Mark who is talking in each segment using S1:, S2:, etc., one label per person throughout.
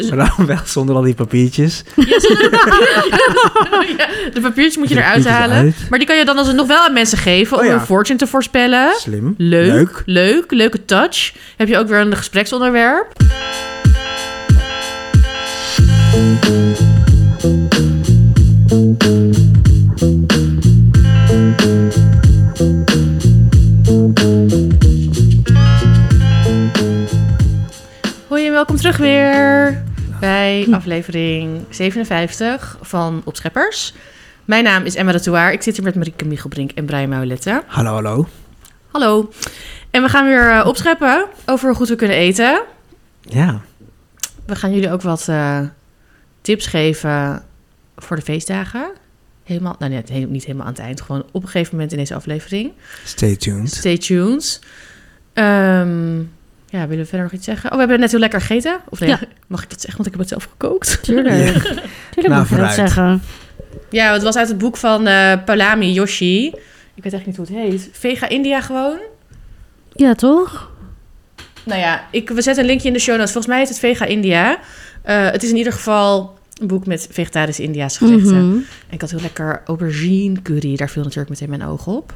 S1: Dus-
S2: Maar dan wel zonder al die papiertjes.
S1: Ja, de papiertjes moet je
S2: De
S1: eruit
S2: papiertjes
S1: halen.
S2: eruit.
S1: Maar die kan je dan alsnog wel aan mensen geven om
S2: Oh ja.
S1: hun fortune te voorspellen.
S2: Slim.
S1: Leuk, leuk, leuke touch. Heb je ook weer een gespreksonderwerp? Hoi en welkom terug weer bij aflevering 57 van Opscheppers. Mijn naam is Emma de Touar. Ik zit hier met Marieke Michelbrink en Brian Maulette.
S2: Hallo, hallo.
S1: Hallo. En we gaan weer eh, opscheppen over hoe goed we kunnen eten.
S2: Ja.
S1: We gaan jullie ook wat eh, tips geven voor de feestdagen. Helemaal, nou net, he- niet helemaal aan het eind. Gewoon op een gegeven moment in deze aflevering.
S2: Stay tuned.
S1: Stay tuned. Ehm, ja, willen we verder nog iets zeggen? Oh, we hebben net heel lekker gegeten. Of nee,
S3: Ja.
S1: mag ik dat zeggen? Want ik heb het zelf gekookt.
S3: Tuurlijk. Tuurlijk
S2: Nou,
S3: moet je dat
S2: vooruit.
S3: zeggen.
S1: Ja, het was uit het boek van eh Palami Yoshi. Ik weet echt niet hoe het heet. Vega India gewoon.
S3: Ja, toch?
S1: Nou ja, ik, we zetten een linkje in de show notes. Volgens mij heet het Vega India. Eh, het is in ieder geval een boek met vegetarische India's gerechten.
S3: Mhm.
S1: En ik had heel lekker aubergine curry. Daar viel natuurlijk meteen mijn oog op.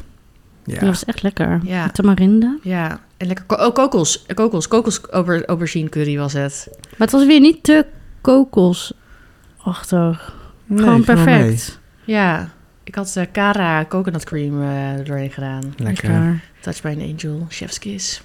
S2: Ja.
S3: Dat was echt lekker.
S1: Ja.
S3: Met tamarinde.
S1: Ja, en lekker ko- oh, kokos. Eh, Kokos, kokos auber- aubergine curry was het.
S3: Maar het was weer niet te kokosachtig.
S2: Nee,
S3: Gewoon
S2: ik wil
S3: perfect.
S1: Ja, ik had eh Cara coconut cream eh, er doorheen gedaan.
S2: mee. Lekker.
S1: Touch by an angel, chef's kiss.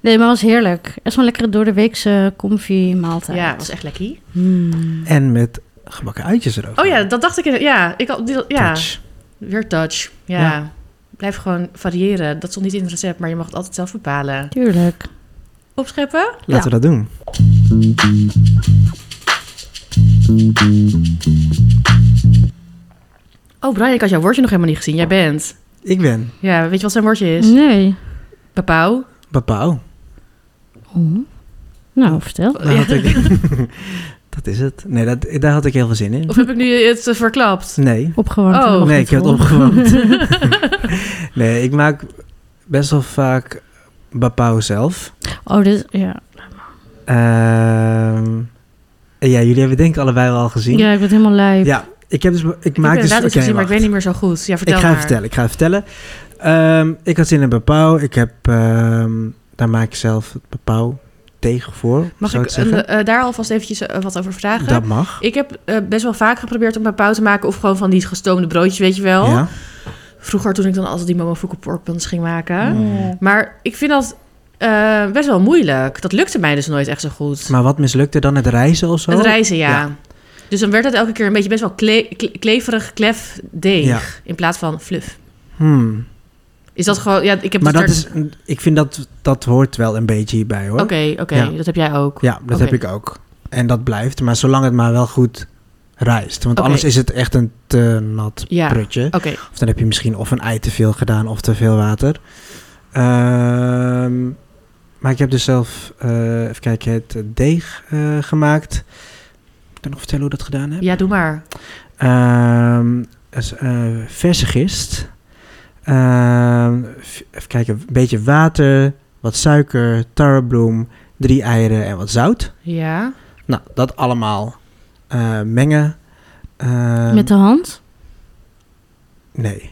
S3: Nee, maar het was heerlijk. Echt zo'n lekkere door de weekse comfy maaltijd.
S1: Ja, het was echt lekker.
S3: Hmm.
S2: En met gebakken uitjes erover.
S1: Oh ja, dat dacht ik. in- Ja, ik had, die- ja.
S2: Touch.
S1: Weer touch. Ja.
S2: Ja.
S1: Blijf gewoon variëren. Dat stond niet in het recept, maar je mag het altijd zelf bepalen.
S3: Tuurlijk.
S1: Opscheppen?
S2: Laten we dat doen.
S1: Oh, Brian, ik had jouw woordje nog helemaal niet gezien. Jij bent.
S2: Ik ben
S1: Ja, weet je wat zijn woordje is?
S3: Nee.
S1: Papau.
S2: Papau.
S3: Oh. Nou, vertel.
S2: Daar had ik... dat is het. Nee, dat, daar had ik heel veel zin in.
S1: Of heb ik nu het eh, verklapt?
S2: Nee.
S3: Opgewarmd.
S1: Oh.
S3: nog
S2: nee,
S3: niet
S2: ik heb het
S3: hoor.
S2: opgewoond. nee, ik maak best wel vaak Bapau zelf.
S3: Oh, dit, ja.
S2: Ehm, en ja, jullie hebben het denk ik allebei wel al gezien.
S3: ja, ik ben helemaal lijp.
S2: Ja, ik heb dus... Ik,
S1: Ik
S2: maak
S1: heb
S2: dus...
S1: inderdaad iets
S2: oké,
S1: gezien, maar
S2: wacht.
S1: ik weet niet meer zo goed. Ja, vertel
S2: ik ga
S1: maar.
S2: het vertellen, ik ga het vertellen. Ehm, ik had zin in bepauw. Ik heb, ehm, daar maak ik zelf het bepauw tegen voor.
S1: Mag
S2: zou
S1: ik
S2: ik, zeggen?
S1: eh, eh, daar alvast eventjes eh, wat over vragen?
S2: dat mag.
S1: Ik heb eh, best wel vaak geprobeerd om papau te maken. Of gewoon van die gestoomde broodjes, weet je wel.
S2: Ja.
S1: Vroeger toen ik dan altijd die momofuku pork buns ging maken.
S2: Mm.
S1: Maar ik vind dat eh, best wel moeilijk. Dat lukte mij dus nooit echt zo goed.
S2: Maar wat mislukte dan het reizen of zo?
S1: Het reizen, ja.
S2: Oh, Ja.
S1: Dus dan werd het elke keer een beetje best wel kle- kle- kleverig klef deeg.
S2: Ja.
S1: In plaats van fluff.
S2: Hmm.
S1: Is dat gewoon... Ja, ik heb
S2: Maar
S1: dus
S2: dat
S1: daar-
S2: is, ik vind dat dat hoort wel een beetje hierbij hoor.
S1: Oké, oké.
S2: Ja.
S1: Dat heb jij ook.
S2: Ja, dat
S1: Oké.
S2: heb ik ook. En dat blijft, maar zolang het maar wel goed reist. Want
S1: Oké.
S2: anders is het echt een te nat
S1: Ja.
S2: prutje.
S1: Oké.
S2: Of dan heb je misschien of een ei te veel gedaan of te veel water. Ehm, maar ik heb dus zelf, eh, even kijken, het deeg eh, gemaakt. Moet Ik kan nog vertellen hoe dat gedaan heb.
S1: Ja, doe maar.
S2: Ehm, dus, eh, verse gist. Ehm, v- even kijken, een beetje water, wat suiker, tarwebloem, drie eieren en wat zout.
S1: Ja.
S2: Nou, dat allemaal eh, mengen. Ehm,
S3: Met de hand.
S2: Nee.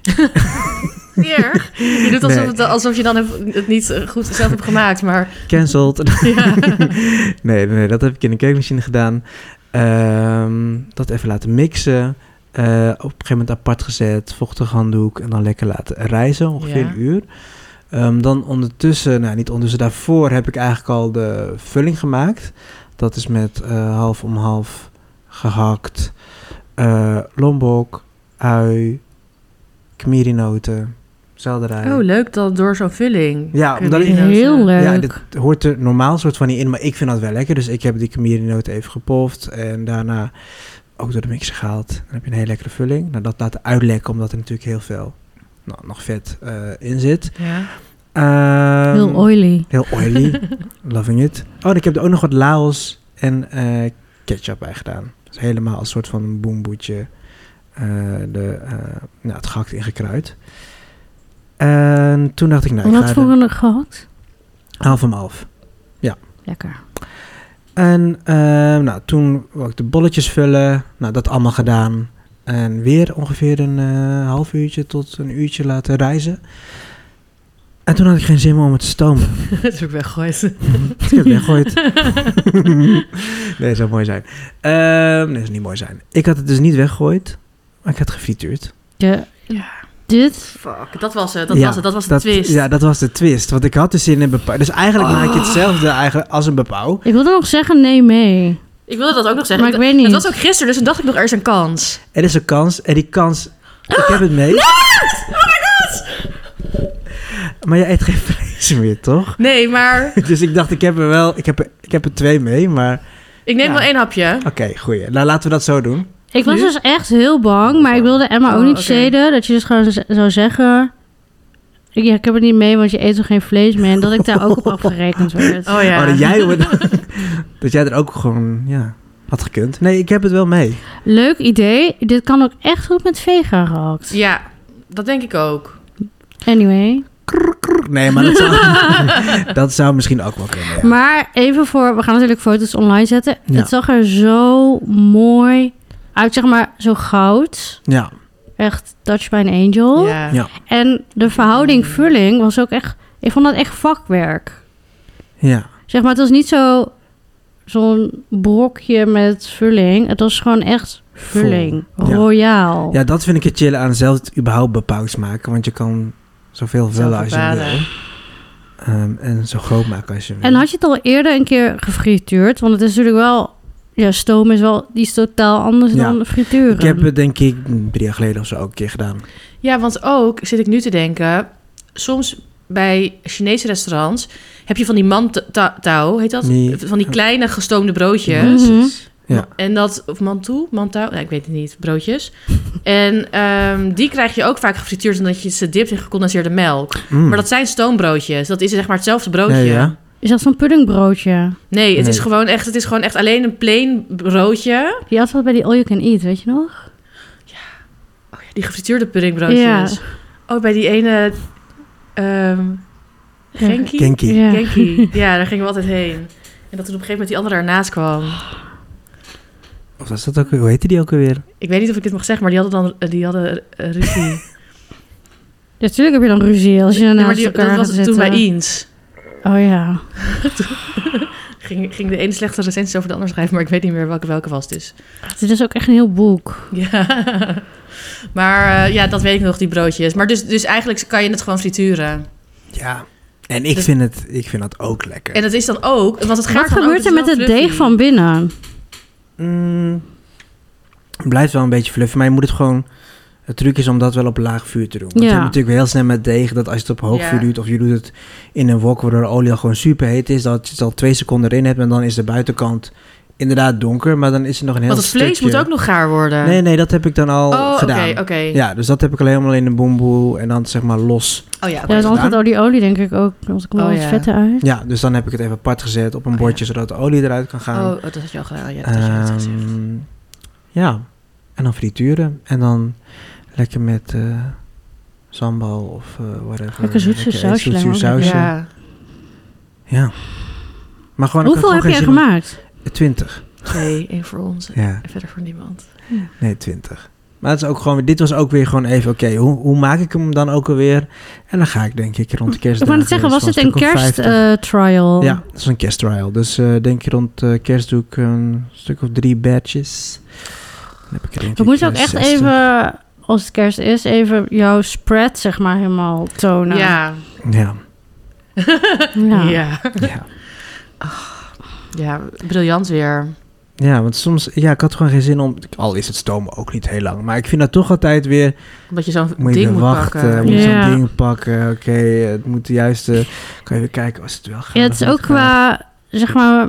S1: Hier. Je doet alsof,
S2: Nee.
S1: het- alsof je dan hebt- het niet eh, goed zelf hebt gemaakt, maar...
S2: Cancelled.
S1: Ja.
S2: nee, nee, nee, dat heb ik in de keukenmachine gedaan. Ehm, dat even laten mixen. Eh, op een gegeven moment apart gezet, vochtig handdoek en dan lekker laten rijzen, ongeveer
S1: Ja.
S2: een uur. Ehm, dan ondertussen, nou niet ondertussen, daarvoor heb ik eigenlijk al de vulling gemaakt. Dat is met eh, half om half gehakt, eh lombok, ui, kmirinoten, selderij.
S1: Oh, leuk dat door zo'n vulling.
S2: Ja,
S1: Kunnen
S2: omdat ik-
S1: jullie dat,
S3: Heel
S1: eh,
S3: leuk.
S2: ja, dit hoort er normaal soort van niet in, maar ik vind dat wel lekker. Dus ik heb die kamerinoot even gepoft en daarna ook door de mixer gehaald. Dan heb je een hele lekkere vulling. Nou, dat laten uitlekken, omdat er natuurlijk heel veel nou, nog vet eh, in zit.
S1: Ja.
S2: Ehm,
S3: Heel oily.
S2: Heel oily. Loving it. Oh, en ik heb er ook nog wat Laos en eh, ketchup bij gedaan. Dus helemaal als soort van een boemboetje. eh, de, eh, nou, het gehakt ingekruid. En toen dacht ik, nou, ik
S3: Wat
S2: ga er
S3: voor een gehakt?
S2: half om half.
S3: Lekker.
S2: En ehm, nou, toen wou ik de bolletjes vullen. Nou, dat allemaal gedaan. En weer ongeveer een eh, half uurtje tot een uurtje laten reizen. En toen had ik geen zin meer om het te stomen.
S1: dat is ook weggooid.
S2: ik heb het weggooid. nee, dat zou mooi zijn. Ehm, nee, dat zou niet mooi zijn. Ik had het dus niet weggooid, maar ik had gefrituurd.
S3: Ja. Dit.
S1: Fuck, dat was het, dat
S2: Ja,
S1: was het, dat was de
S2: dat,
S1: twist.
S2: Ja, dat was de twist. Want ik had dus in een bepaal. Dus eigenlijk maak je hetzelfde eigenlijk als een bepaal.
S3: Ik wilde nog zeggen, nee, mee.
S1: Ik wilde dat ook nog zeggen.
S3: Maar ik
S1: Dat-
S3: weet niet.
S1: Dat was ook gisteren, dus toen dacht ik nog, er is een kans.
S2: Er is een kans. En die kans... Ik heb het mee.
S3: Oh
S2: Maar je eet geen vlees meer, toch?
S1: Nee, maar
S2: Dus ik dacht, ik heb er wel... Ik heb er, ik heb er twee mee, maar...
S1: ik neem
S2: Ja.
S1: wel één hapje.
S2: Oké, goeie. Nou, laten we dat zo doen.
S3: Ik was
S1: Nu?
S3: dus echt heel bang, maar ik wilde Emma ook
S1: Oh,
S3: niet
S1: oké.
S3: zeden. Dat je dus gewoon z- zou zeggen... Ik, ja, ik heb het niet mee, want je eet toch geen vlees meer. En dat ik daar ook op afgerekend werd.
S1: Oh ja.
S2: Oh, dat jij... dat jij er ook gewoon, ja... Had gekund. Nee, ik heb het wel mee.
S3: Leuk idee. Dit kan ook echt goed met vega gehakt.
S1: Ja, dat denk ik ook.
S3: Anyway.
S2: Nee, maar dat zou, dat zou misschien ook wel kunnen, ja.
S3: Maar even voor... We gaan natuurlijk foto's online zetten.
S2: Ja.
S3: Het zag er zo mooi uit. Zeg maar zo goud.
S2: Ja,
S3: Echt Dutch by an Angel.
S1: Ja.
S2: Ja.
S3: En de verhouding vulling was ook echt... Ik vond dat echt vakwerk.
S2: ja.
S3: Zeg maar, het was niet zo zo'n brokje met vulling. Het was gewoon echt vulling.
S2: Vol, ja.
S3: Royaal.
S2: Ja, dat vind ik het chillen aan zelf het überhaupt bepaald maken. Want je kan zoveel
S1: Zelf
S2: vullen als je
S1: bepalen.
S2: wil. Ehm, en zo groot maken als je wil.
S3: En had je het al eerder een keer gefrituurd? Want het is natuurlijk wel... Ja, stoom is wel iets totaal anders
S2: Ja.
S3: dan frituren.
S2: Ik heb het denk ik drie jaar geleden of zo ook een keer gedaan.
S1: Ja, want ook zit ik nu te denken. Soms bij Chinese restaurants heb je van die mantau, heet dat?
S2: Nee.
S1: Van die kleine gestoomde
S3: Mhm.
S1: broodjes.
S2: Ja.
S1: En dat, of mantou, mantau, nou, ik weet het niet, broodjes. En ehm, die krijg je ook vaak gefrituurd omdat je ze dipt in gecondenseerde melk.
S2: Mm.
S1: Maar dat zijn stoombroodjes. Dat is zeg maar hetzelfde broodje.
S2: Nee, ja.
S3: Is dat zo'n puddingbroodje?
S1: Nee, het, Is
S2: Nee.
S1: gewoon echt, het is gewoon echt alleen een plain broodje.
S3: Die had wat bij die All You Can Eat, weet je nog?
S1: Oh ja, die gefrituurde puddingbroodjes.
S3: Ja.
S1: Oh, bij die ene... ehm Genki?
S2: Genki.
S3: Ja.
S1: Genki. Ja, daar gingen we altijd heen. En dat toen op een gegeven moment die andere ernaast kwam.
S2: Of was dat ook, hoe heette die ook alweer?
S1: Ik weet niet of ik dit mag zeggen, maar die hadden dan eh, die hadden, eh, ruzie.
S3: Ja, natuurlijk heb je dan ruzie als je
S1: Nee, maar
S3: naast
S1: die,
S3: elkaar
S1: dat was
S3: gaat
S1: toen
S3: zitten.
S1: bij Eens.
S3: Oh ja.
S1: Ging, ging de ene slechte recensie over de andere schrijven, maar ik weet niet meer welke welke was dus.
S3: Dit is ook echt een heel boek.
S1: Ja. Maar eh, ja, dat weet ik nog, die broodjes. Maar dus, dus eigenlijk kan je het gewoon frituren.
S2: Ja. En ik
S1: Dus-
S2: vind, het, ik vind dat ook lekker.
S1: En dat is dan ook, want het gaat
S3: Wat gebeurt er met het deeg van binnen?
S2: Mm, het blijft wel een beetje fluffy, maar je moet het gewoon... Het truc is om dat wel op laag vuur te doen. Want
S3: Ja.
S2: je hebt natuurlijk heel snel met deeg dat als je het op hoog
S1: Ja.
S2: vuur doet... of je doet het in een wok waardoor de olie al gewoon super heet is... dat je het al twee seconden erin hebt en dan is de buitenkant inderdaad donker... maar dan is er nog een heel
S1: Want het vlees
S2: stukje-
S1: moet ook nog gaar worden.
S2: Nee, nee, dat heb ik dan al
S1: oh, oké,
S2: gedaan.
S1: oké.
S2: Ja, dus dat heb ik alleen maar in de boemboe en dan zeg maar los.
S1: Oh ja,
S3: Ja,
S2: is
S3: dan
S2: gedaan.
S3: gaat al die olie denk ik ook. Want ik komt
S1: Oh,
S3: wel wat
S1: ja.
S3: vetten uit.
S2: Ja, dus dan heb ik het even apart gezet op een
S1: Oh, ja.
S2: bordje zodat de olie eruit kan gaan.
S1: Oh, dat had je al gedaan. Ja, dat had je net gezegd.
S2: Ehm, ja, en dan frituren en dan lekker met eh, sambal of eh whatever.
S3: Lekker zoetzuur sausje
S2: zoetzuur
S3: lijkt me ook
S2: sausje. Ja.
S1: Ja.
S2: Maar gewoon, ik had
S3: Hoeveel
S2: gewoon
S3: heb jij
S2: geen zin om-
S3: gemaakt?
S2: 20.
S1: Twee, één voor ons en
S2: Ja,
S1: verder voor niemand.
S2: nee, 20. Maar het is ook gewoon, dit was ook weer gewoon even, oké, hoe, hoe maak ik hem dan ook alweer? En dan ga ik denk ik rond de kerst.
S3: Ik wou net zeggen, was het een eh,
S2: kerst?
S3: kersttrial?
S2: Ja, dat is een kersttrial. Dus eh, denk je rond eh, kerst doe ik een stuk of drie badges. Dan heb ik er denk
S3: We
S2: ik,
S3: moeten ook
S2: eh,
S3: echt
S2: 60.
S3: even, als het kerst is, even jouw spread zeg maar helemaal tonen.
S1: Ja.
S2: Ja,
S3: Ja.
S1: Nou. ja.
S2: ja.
S1: Ja, briljant weer.
S2: ja, want soms... Ja, ik had gewoon geen zin om... Al is het stomen ook niet heel lang. Maar ik vind dat toch altijd weer...
S1: Omdat je zo'n
S2: Moet je weer
S1: ding moet
S2: wachten. eh,
S1: pakken.
S2: Moet je
S3: Ja.
S2: zo'n ding pakken. Oké, het moet de juiste... Kan je weer kijken, was het wel gaar
S3: Ja, het
S2: of
S3: is
S2: niet
S3: ook
S2: gaar?
S3: qua, zeg maar,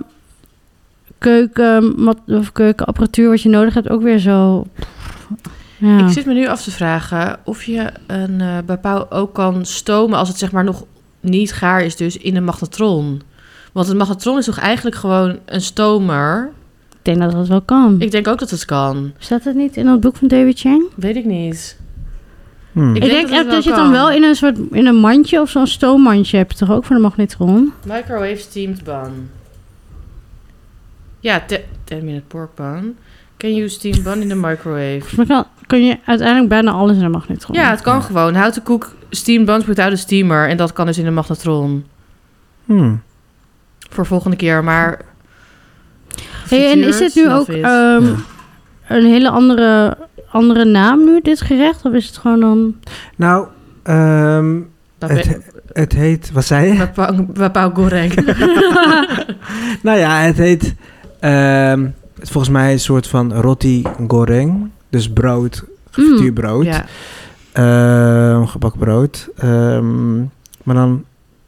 S3: keuken, mat, of keukenapparatuur wat je nodig hebt, ook weer zo... Ja.
S1: Ik zit me nu af te vragen of je een eh bapau ook kan stomen als het zeg maar nog niet gaar is, dus in een magnetron. Want een magnetron is toch eigenlijk gewoon een stomer?
S3: Ik denk dat dat wel kan.
S1: Ik denk ook dat het kan.
S3: Staat het niet in dat boek van David Chang? Ik,
S1: Weet ik niet.
S2: Hmm.
S1: Ik
S3: denk,
S1: denk dat het
S3: echt
S1: wel
S3: dat je het dan
S1: kan.
S3: wel in een soort in een mandje of zo'n stoommandje hebt, toch ook voor de magnetron?
S1: Microwave steamed bun. Ja, te- 10 minute pork bun. Can you steam bun in the microwave?
S3: Volgens mij kan- kun je uiteindelijk bijna alles in de magnetron.
S1: Ja, het kan gewoon. Houten koek, steam buns without a steamer. En dat kan dus in de magnetron.
S2: Hmm.
S1: Voor volgende keer, maar...
S3: Hey, en is
S1: frituur,
S3: dit nu
S1: snel
S3: ook
S1: vis.
S3: ehm,
S2: Ja.
S3: een hele andere, andere naam nu, dit gerecht? Of is het gewoon dan...
S2: Nou, ehm,
S1: Dat
S2: het,
S1: ben-
S2: het heet... Wat zei je?
S1: Bapau- Bapau goreng.
S2: Nou ja, het heet... ehm, het is volgens mij een soort van roti goreng. Dus brood, gefrituurd brood.
S1: Mm, Ja,
S2: Ehm, gebakken brood. Ehm, maar dan,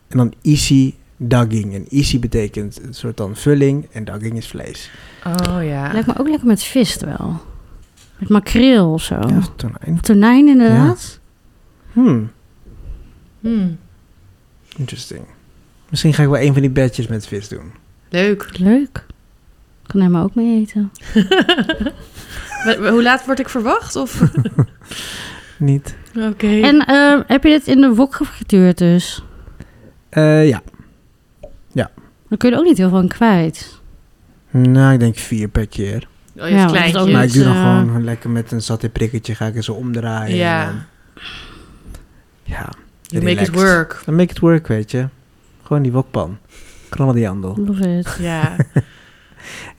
S2: en dan isi dagging. En isi betekent een soort dan vulling en dagging is vlees.
S1: oh ja.
S3: Lijkt me ook lekker met vis wel. Met makreel of zo.
S2: Ja, tonijn.
S3: Of tonijn inderdaad.
S2: Dus Hmm,
S1: Hmm,
S2: interesting. Misschien ga ik wel een van die bedjes met vis doen.
S1: leuk.
S3: Leuk. Kan hij maar ook mee eten.
S1: Maar- maar Hoe laat word ik verwacht? Of... Oh, Oké.
S2: Niet?
S3: En ehm, heb je dit in de wok gefrituurd dus?
S2: Eh, ja.
S3: Dan kun je er ook niet heel veel aan kwijt.
S2: Nou, ik denk vier per keer.
S1: Oh,
S3: Ja,
S1: ja,
S3: want het is ook
S2: Maar
S1: kleintjes.
S2: ik doe dan
S3: eh,
S2: gewoon lekker met een saté prikketje. Ga ik er zo omdraaien. en dan-
S1: Ja,
S2: ja.
S1: you make it
S2: relaxed.
S1: work.
S2: Dan make it work, weet je. Gewoon die wokpan. Knallen die handel.
S3: Love it.
S1: Ja.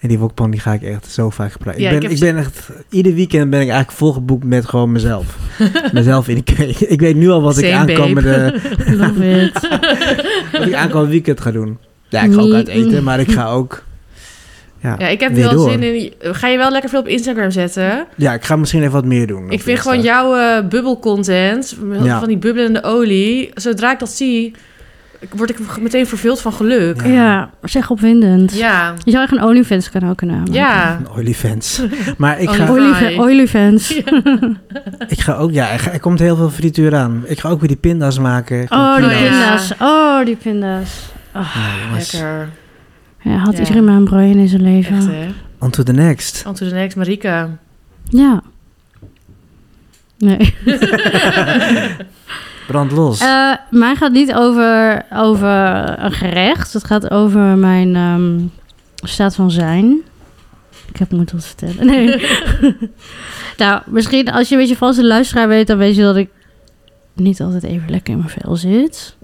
S2: En die wokpan die ga ik echt zo vaak gebruiken.
S1: Ja,
S2: ik,
S1: ik
S2: ben,
S1: heb
S2: ik
S1: ze-
S2: ben echt... Ieder weekend ben ik eigenlijk volgeboekt met gewoon mezelf. mezelf in de keuken. Ik weet nu al wat ik
S1: Same, babe.
S2: aankomende,
S3: Love it.
S2: wat ik aankomende weekend ga doen. Ja, ik ga ook
S3: Nee.
S2: uit eten, maar ik ga ook... Ja,
S1: Ja,
S2: ja.
S1: ik heb
S2: Weer
S1: er wel
S2: door.
S1: zin in. Ga je wel lekker veel op Instagram zetten?
S2: ik ga misschien even wat meer doen. op
S1: Ik vind gewoon
S2: Insta.
S1: jouw eh, bubbelcontent, m-
S2: Ja.
S1: van die bubbelende olie, zodra ik dat zie, ik- word ik meteen verveeld van geluk.
S3: Ja, zeg opwindend.
S1: Ja,
S3: Je zou echt een OnlyFans kanaal kunnen
S1: ja. Oh,
S3: aanmaken.
S2: Olyfans. Maar ik ga,
S1: Olyfans.
S3: Olyfa- OnlyFans.
S2: ik ga ook... Ja, er, er komt heel veel frituur aan. Ik ga ook weer die pinda's maken.
S3: Oh, die
S1: Pinda's.
S3: pinda's. Oh, die pinda's.
S2: Ja, Ah, jongens.
S1: lekker.
S3: Ja, had
S1: Ja.
S3: iedereen maar een brooi in zijn leven.
S1: Echt hè.
S2: On to the next.
S1: On to the next, Marika.
S3: Ja. Nee.
S2: Brand los.
S3: Eh, mijn gaat niet over, over een gerecht. Het gaat over mijn ehm, staat van zijn. Ik heb moeten wat vertellen. Nee. nou, misschien als je een beetje vaste luisteraar weet, dan weet je dat ik niet altijd even lekker in mijn vel zit.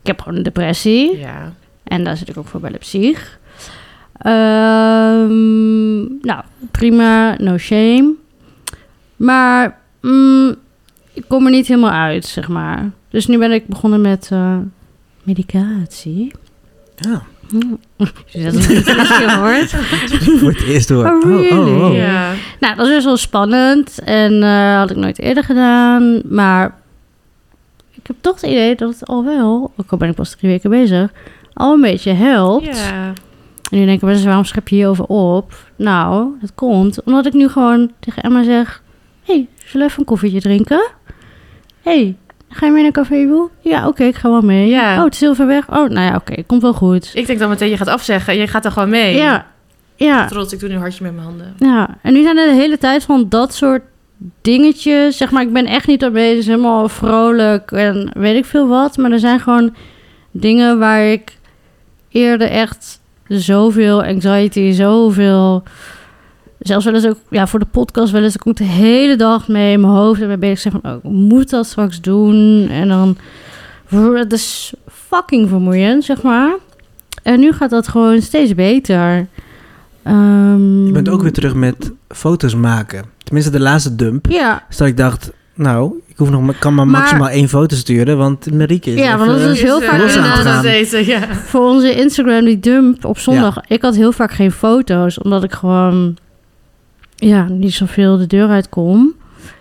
S3: Ik heb gewoon een depressie.
S1: Ja.
S3: En daar zit ik ook voor bij de psych. Ehm, nou, prima, no shame. Maar mm, ik kom er niet helemaal uit, zeg maar. Dus nu ben ik begonnen met eh, medicatie.
S2: Ja,
S3: Hm. Dat is niet eens gehoord.
S2: voor het eerst door.
S3: Oh, really? Oh.
S1: Ja.
S3: Nou, dat is dus wel spannend. En eh, had ik nooit eerder gedaan. Maar ik heb toch het idee dat het al wel, ook al ben ik pas drie weken bezig, al een beetje helpt.
S1: Ja.
S3: En nu denken mensen, waarom schep je hierover op? Nou, dat komt omdat ik nu gewoon tegen Emma zeg... Hé, hey, zullen we even een koffietje drinken? Hé, hey, ga je mee naar Café Woel? Ja, oké, ik ga wel mee.
S1: Ja.
S3: Oh, het is heel ver weg. Oh, nou ja, oké, komt wel goed.
S1: Ik denk dan meteen, je gaat afzeggen. Je gaat er gewoon mee.
S3: Ja, ja,
S1: Trots, ik doe nu een hartje met mijn handen.
S3: ja. En nu zijn er de hele tijd van dat soort dingetjes. Zeg maar, ik ben echt niet ermee. Het is helemaal vrolijk en weet ik veel wat. Maar er zijn gewoon dingen waar ik eerder echt zoveel anxiety, zoveel... Zelfs wel eens ook, ja, voor de podcast wel eens, ik kom ik de hele dag mee in mijn hoofd en ben bezig zijn van, oh, ik moet dat straks doen. En dan, brr, het is fucking vermoeiend, zeg maar. En nu gaat dat gewoon steeds beter. Ehm,
S2: Je bent ook weer terug met foto's maken. Tenminste, de laatste dump.
S3: Ja,
S2: Dus dat ik dacht, nou, ik hoef nog, maar- kan maar,
S3: Maar-
S2: maximaal één foto sturen, want Marieke is
S3: Ja,
S2: even-
S3: want dat is dus heel
S1: eh,
S3: vaak
S2: los aan het
S1: inderdaad
S2: gaan.
S1: eten, ja.
S3: voor onze Instagram die dump op zondag. Ik had heel vaak geen foto's, omdat ik gewoon ja, niet zoveel de deur uit kom.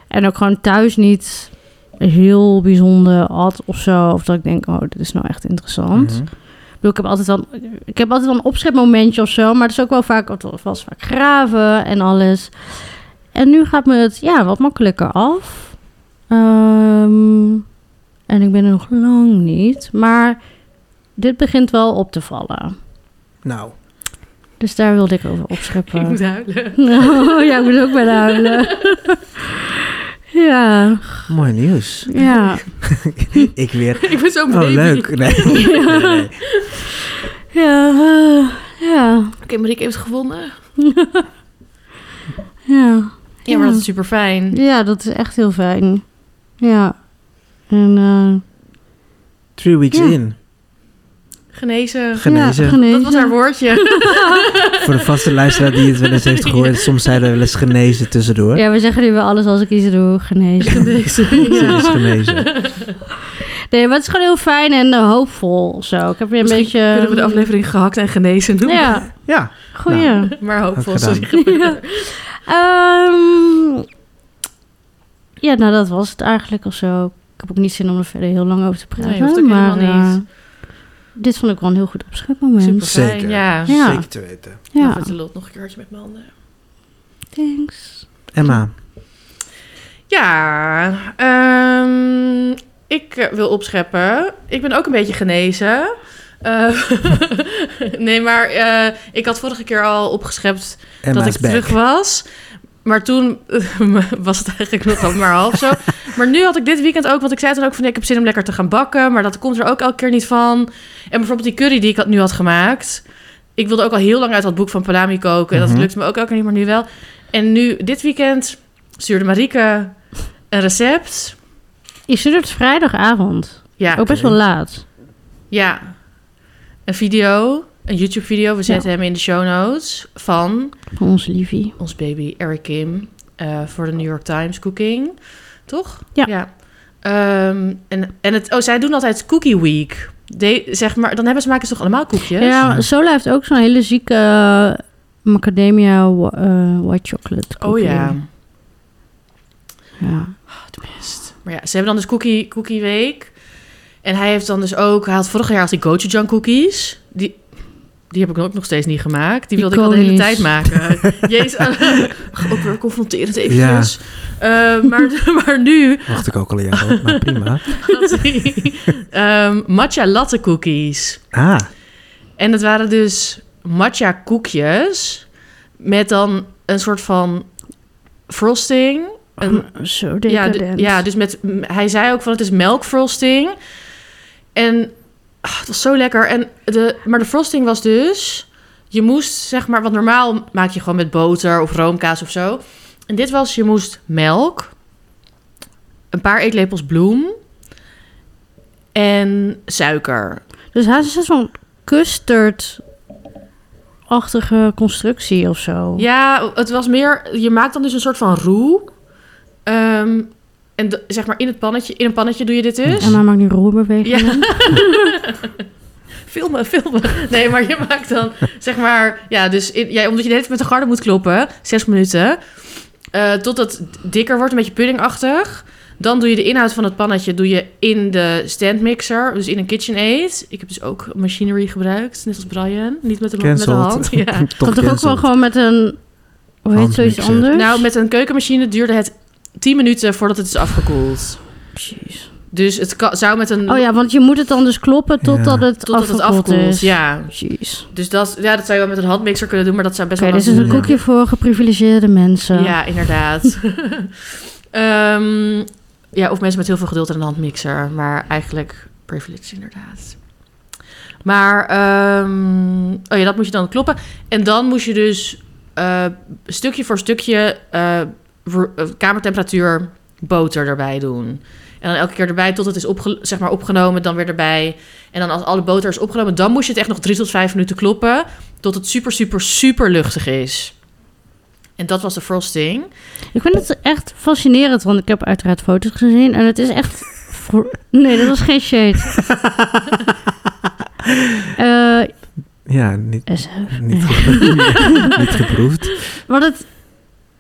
S3: En ook gewoon thuis niet heel bijzonder had of zo. Of dat ik denk, oh, dit is nou echt interessant.
S2: Mhm.
S3: Ik bedoel, ik heb altijd wel, ik heb altijd wel een opschepmomentje of zo, maar het is ook wel vaak, het was vaak graven en alles. En nu gaat me het ja, wat makkelijker af. Ehm, en ik ben er nog lang niet, maar dit begint wel op te vallen.
S2: Nou,
S3: Dus daar wilde ik over
S1: Ik moet
S3: opscheppen.
S1: huilen.
S3: Oh, ja, ik moet ook bijna huilen. ja,
S2: mooi nieuws.
S3: ja,
S2: ik weer,
S1: Ik ben zo'n
S2: oh
S1: baby.
S2: leuk. Nee. Nee, nee, nee.
S3: ja. eh, Ja,
S1: Oké, Marieke heeft gewonnen.
S3: ja.
S1: Ja, maar dat
S3: Ja.
S1: is super fijn.
S3: Ja, dat is echt heel fijn. Ja. En eh,
S2: Three weeks
S3: Ja.
S2: in.
S1: Genezen.
S2: Genezen.
S3: Ja, genezen.
S1: Dat was haar woordje.
S2: Voor de vaste luisteraar die het wel eens heeft gehoord. Soms zeiden we wel eens genezen tussendoor.
S3: Ja, we zeggen nu wel alles als ik iets doe, genezen.
S1: Genezen.
S2: Ze
S1: Ja.
S2: is genezen.
S3: Nee, maar het is gewoon heel fijn en eh, hoopvol zo. Ik heb weer een
S1: Misschien
S3: beetje... ehm, mm,
S1: Kunnen we de aflevering gehakt en genezen noemen?
S3: Ja,
S2: Ja,
S3: goeie.
S1: Maar hoopvol.
S2: Had
S1: Sorry.
S2: gedaan.
S3: Ehm, ja, nou dat was het eigenlijk of zo. Ik heb ook niet zin om er verder heel lang over te praten.
S1: Nee, hoeft ook
S3: maar
S1: helemaal
S3: eh,
S1: niet.
S3: dit vond ik wel een heel goed opschepmoment.
S1: Super fijn.
S2: Zeker.
S1: Ja.
S3: Ja.
S2: zeker te weten.
S1: Ja.
S3: Ja,
S1: Met de lot nog een keertje met mijn handen.
S3: thanks.
S2: Emma,
S1: Ja, ehm, ik eh, wil opscheppen. Ik ben ook een beetje genezen. Eh, nee, maar eh, ik had vorige keer al opgeschept
S2: Emma
S1: dat
S2: is
S1: ik
S2: back.
S1: terug was. Maar toen eh, was het eigenlijk nog maar half zo. Maar nu had ik dit weekend ook, want ik zei toen ook van... ik heb zin om lekker te gaan bakken, maar dat komt er ook elke keer niet van. En bijvoorbeeld die curry die ik had, nu had gemaakt... ik wilde ook al heel lang uit dat boek van Palami koken... en dat
S2: Mhm.
S1: lukt me ook elke keer niet, maar nu wel. En nu, dit weekend, stuurde Marieke een recept.
S3: Je studeert vrijdagavond.
S1: Ja,
S3: Ook best wel laat.
S1: ja. Een video, een YouTube-video. We zetten hem in de show notes van...
S3: Van onze liefie.
S1: ons baby Eric Kim eh, voor de New York Times Cooking. Toch?
S3: Ja.
S1: Ehm, en en het, oh, zij doen altijd Cookie Week. De, zeg maar, dan hebben ze, maken ze toch allemaal koekjes?
S3: Ja, maar Sola heeft ook zo'n hele zieke eh, macadamia wa- eh, white chocolate
S1: Oh
S3: cookie.
S1: ja.
S3: ja.
S1: Best. Maar ja, ze hebben dan dus Cookie, cookie Week. En hij heeft dan dus ook... Hij had vorig jaar had hij gochujang cookies. Die, die heb ik ook nog steeds niet gemaakt. Die wilde ik al de hele tijd
S3: Iconisch.
S1: maken. Jezus, ook weer confronterend eventjes. Eh, maar, maar nu
S2: Wacht ik ook al een jaar op, maar prima.
S1: had hij ehm, matcha latte cookies.
S2: Ah,
S1: En dat waren dus matcha koekjes met dan een soort van frosting. Een-
S3: zo
S1: ja,
S3: decadent.
S1: d- ja, dus met, m- hij zei ook van het is melkfrosting. En ah, het was zo lekker. En de, maar de frosting was dus, je moest zeg maar, want normaal maak je gewoon met boter of roomkaas of zo. En dit was, je moest melk, een paar eetlepels bloem en suiker.
S3: Dus hij is zo'n custard-achtige constructie of zo.
S1: Ja, het was meer. Je maakt dan dus een soort van roe. Ehm, en d- zeg maar in het pannetje. In een pannetje doe je dit dus.
S3: En hij maakt nu roerbewegingen. Mhm.
S1: Filmen, filmen. Nee, maar je maakt dan zeg maar. Ja, dus in, ja, omdat je de hele tijd met de garde moet kloppen. Zes minuten. eh, totdat het dikker wordt, een beetje puddingachtig. Dan doe je de inhoud van het pannetje doe je in de standmixer. Dus in een KitchenAid. Ik heb dus ook machinery gebruikt. Net als Brian. Niet met de, met de hand.
S2: cancelled.
S1: Ja.
S2: Toch
S3: Kan toch ook wel
S2: cancelled.
S3: gewoon met een... Hoe heet zoiets
S2: Handmixer.
S3: anders?
S1: Nou, met een keukenmachine duurde het 10 minuten voordat het is afgekoeld.
S3: Precies.
S1: Dus het ka- zou met een.
S3: Oh ja, want je moet het dan dus kloppen totdat
S2: Ja.
S3: het
S1: totdat het
S3: afgekoeld
S1: afkoelt.
S3: is.
S1: Ja.
S3: Jeez.
S1: Dus dat, ja, dat zou je wel met een handmixer kunnen doen, maar dat zou best
S3: Oké,
S1: wel.
S3: dit is een
S2: Ja.
S3: koekje voor geprivilegeerde mensen.
S1: Ja, inderdaad. Ehm, ja, of mensen met heel veel geduld en een handmixer. Maar eigenlijk privilege, inderdaad. Maar, ehm, oh ja, dat moet je dan kloppen. En dan moest je dus eh, stukje voor stukje eh, ro- eh, kamertemperatuur boter erbij doen. En dan elke keer erbij tot het is opge- zeg maar opgenomen, dan weer erbij. En dan als alle boter is opgenomen, dan moest je het echt nog drie tot vijf minuten kloppen. Tot het super, super, super luchtig is. En dat was de frosting.
S3: Ik vind het echt fascinerend, want ik heb uiteraard foto's gezien en het is echt. vro- Nee, dat was geen shade. Eh,
S2: Ja, niet,
S3: is-
S2: niet, geproefd. niet geproefd.
S3: wat het,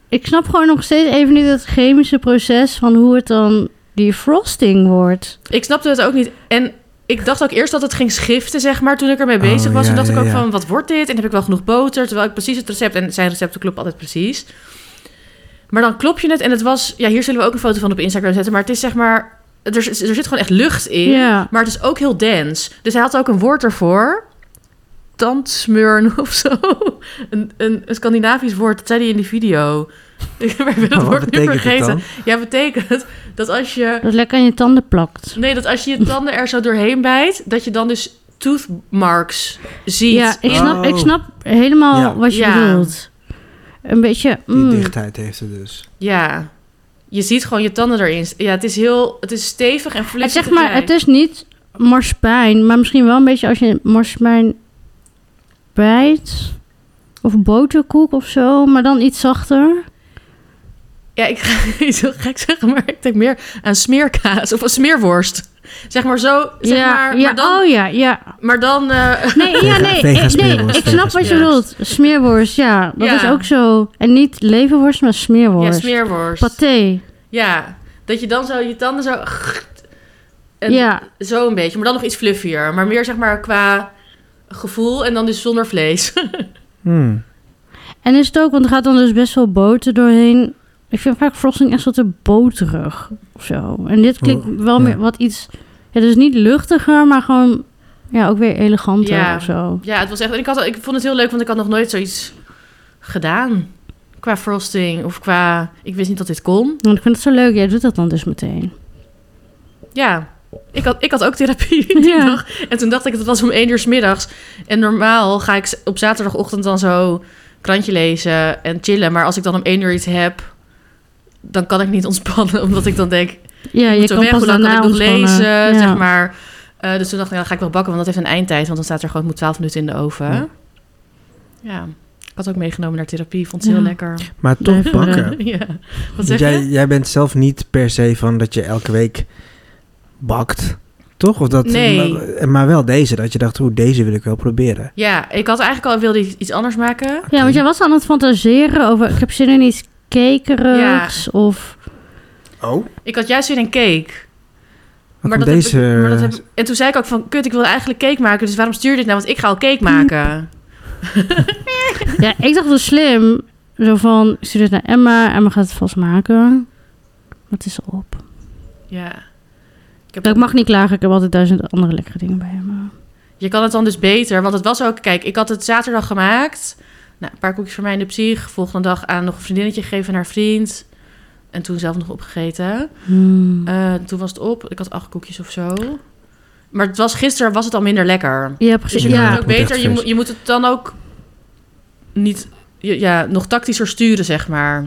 S3: ik snap gewoon nog steeds even niet het chemische proces van hoe het dan die frosting wordt.
S1: Ik snapte het ook niet. En ik dacht ook eerst dat het ging schiften, zeg maar, toen ik ermee bezig
S2: Oh, ja,
S1: was. toen dacht
S2: ja,
S1: ik ook
S2: ja.
S1: van, wat wordt dit? En heb ik wel genoeg boter? Terwijl ik precies het recept... En zijn recepten kloppen altijd precies. Maar dan klop je het en het was... Ja, hier zullen we ook een foto van op Instagram zetten. Maar het is zeg maar... Er, er zit gewoon echt lucht in.
S3: Ja.
S1: Maar het is ook heel dense. Dus hij had ook een woord ervoor. Tandsmeuren of zo. Een, een, een Scandinavisch woord, dat zei hij in die video. Ik ben het
S2: Maar wat
S1: woord nu
S2: betekent het
S1: vergeten.
S2: dan?
S1: Ja, betekent dat als je...
S3: Dat lekker aan je tanden plakt.
S1: Nee, dat als je je tanden er zo doorheen bijt, dat je dan dus toothmarks ziet.
S3: Ja, ik
S2: Oh.
S3: snap, ik snap helemaal
S2: Ja.
S3: wat je
S1: Ja.
S3: bedoelt. Een beetje...
S2: Die
S1: Hmm.
S3: mm.
S2: dichtheid heeft ze dus.
S1: Ja. Je ziet gewoon je tanden erin. Ja, het is heel... Het is stevig en
S3: Het,
S1: flitsend.
S3: zeg maar, het is niet marspijn, maar misschien wel een beetje als je marspijn bijt. Of boterkoek of zo, maar dan iets zachter.
S1: Ja, ik ga iets heel gek zeggen, maar ik denk meer aan smeerkaas of een smeerworst. Zeg maar zo, zeg
S3: ja,
S1: maar,
S3: ja,
S1: maar dan...
S3: oh ja, ja.
S1: Maar dan eh,
S3: Nee, ja,
S2: Vega-
S3: nee,
S2: vega
S3: ik, nee,
S2: smeerworst,
S3: ik
S2: vega
S3: snap wat je
S1: smeerworst.
S3: bedoelt. Smeerworst, ja, dat
S1: Ja.
S3: is ook zo. En niet leverworst, maar
S1: ja,
S3: smeerworst.
S1: smeerworst.
S3: Paté,
S1: Ja, dat je dan zo je tanden zo... En
S3: ja.
S1: Zo een beetje, maar dan nog iets fluffier. Maar meer zeg maar qua gevoel en dan dus zonder vlees.
S2: Hmm.
S3: En is het ook, want er gaat dan dus best wel boter doorheen. Ik vind vaak frosting echt wat te boterig of zo. En dit klinkt
S2: Oh,
S3: wel
S2: ja.
S3: meer wat iets... Ja, dus niet luchtiger, maar gewoon... Ja, ook weer eleganter
S1: Ja.
S3: of zo.
S1: Ja, het was echt. En ik, had, al- ik vond het heel leuk, want ik had nog nooit zoiets gedaan. Qua frosting of qua. Ik wist niet dat dit kon.
S3: Want ik vind het zo leuk. Jij doet dat dan dus meteen.
S1: Ja, ik had, ik had ook therapie. die
S3: Ja.
S1: dag. En toen dacht ik, het was om één uur 's middags. En normaal ga ik s- op zaterdagochtend dan zo krantje lezen en chillen. Maar als ik dan om één uur iets heb, dan kan ik niet ontspannen. Omdat ik dan denk,
S3: Ja,
S1: je
S3: je
S1: moet zo
S3: kan
S1: weg,
S3: pas
S1: hoe lang kan
S3: daarna
S1: ik nog
S3: ontspannen.
S1: lezen,
S3: Ja.
S1: zeg maar. Eh, dus toen dacht ik, nou, dan ga ik wel bakken, want dat heeft een eindtijd. Want dan staat er gewoon, het moet 12 minuten in de oven. Ja.
S2: Ja.
S1: Ik had ook meegenomen naar therapie, vond het heel
S3: Ja.
S1: lekker.
S2: Maar toch
S3: Blijven
S2: bakken.
S1: ja. Wat
S2: Want
S1: zeg
S2: jij,
S1: je?
S2: jij bent zelf niet per se van dat je elke week bakt, toch? Of dat,
S1: Nee.
S2: maar, maar wel deze, dat je dacht, hoe deze wil ik wel proberen.
S1: Ja, ik had eigenlijk al, wilde ik iets anders maken.
S3: Ja, want jij was aan het fantaseren over... Ik heb zin in iets kekerigs of...
S2: Oh?
S1: Ik had juist weer een cake.
S2: Maar
S1: dat
S2: deze...
S1: heb ik- maar dat heb ik- en toen zei ik ook van, kut, ik wil eigenlijk cake maken. Dus waarom stuur je dit nou? Want ik ga al
S3: Hm.
S1: cake maken.
S3: Ja, ik dacht wel slim. Zo van, ik stuur dit naar Emma. Emma gaat het vast maken. Wat is op?
S1: Ja. Ik heb
S3: Ja, Ik mag niet klagen, ik heb altijd duizend andere lekkere dingen bij hem.
S1: Je kan het dan dus beter. Want het was ook, kijk, ik had het zaterdag gemaakt. Nou, een paar koekjes voor mij in de psych. Volgende dag aan nog een vriendinnetje gegeven aan haar vriend. En toen zelf nog opgegeten. Eh, toen was het op. Ik had acht koekjes of zo. Maar het was, gisteren was het al minder lekker.
S3: ja,
S1: Dus
S3: precies.
S1: je
S2: Ja,
S1: kan
S3: Ja.
S1: het
S2: het
S1: ook
S2: moet echt
S1: beter. Je,
S2: vers.
S1: moet- je moet het dan ook niet, je- ja, nog tactischer sturen, zeg maar.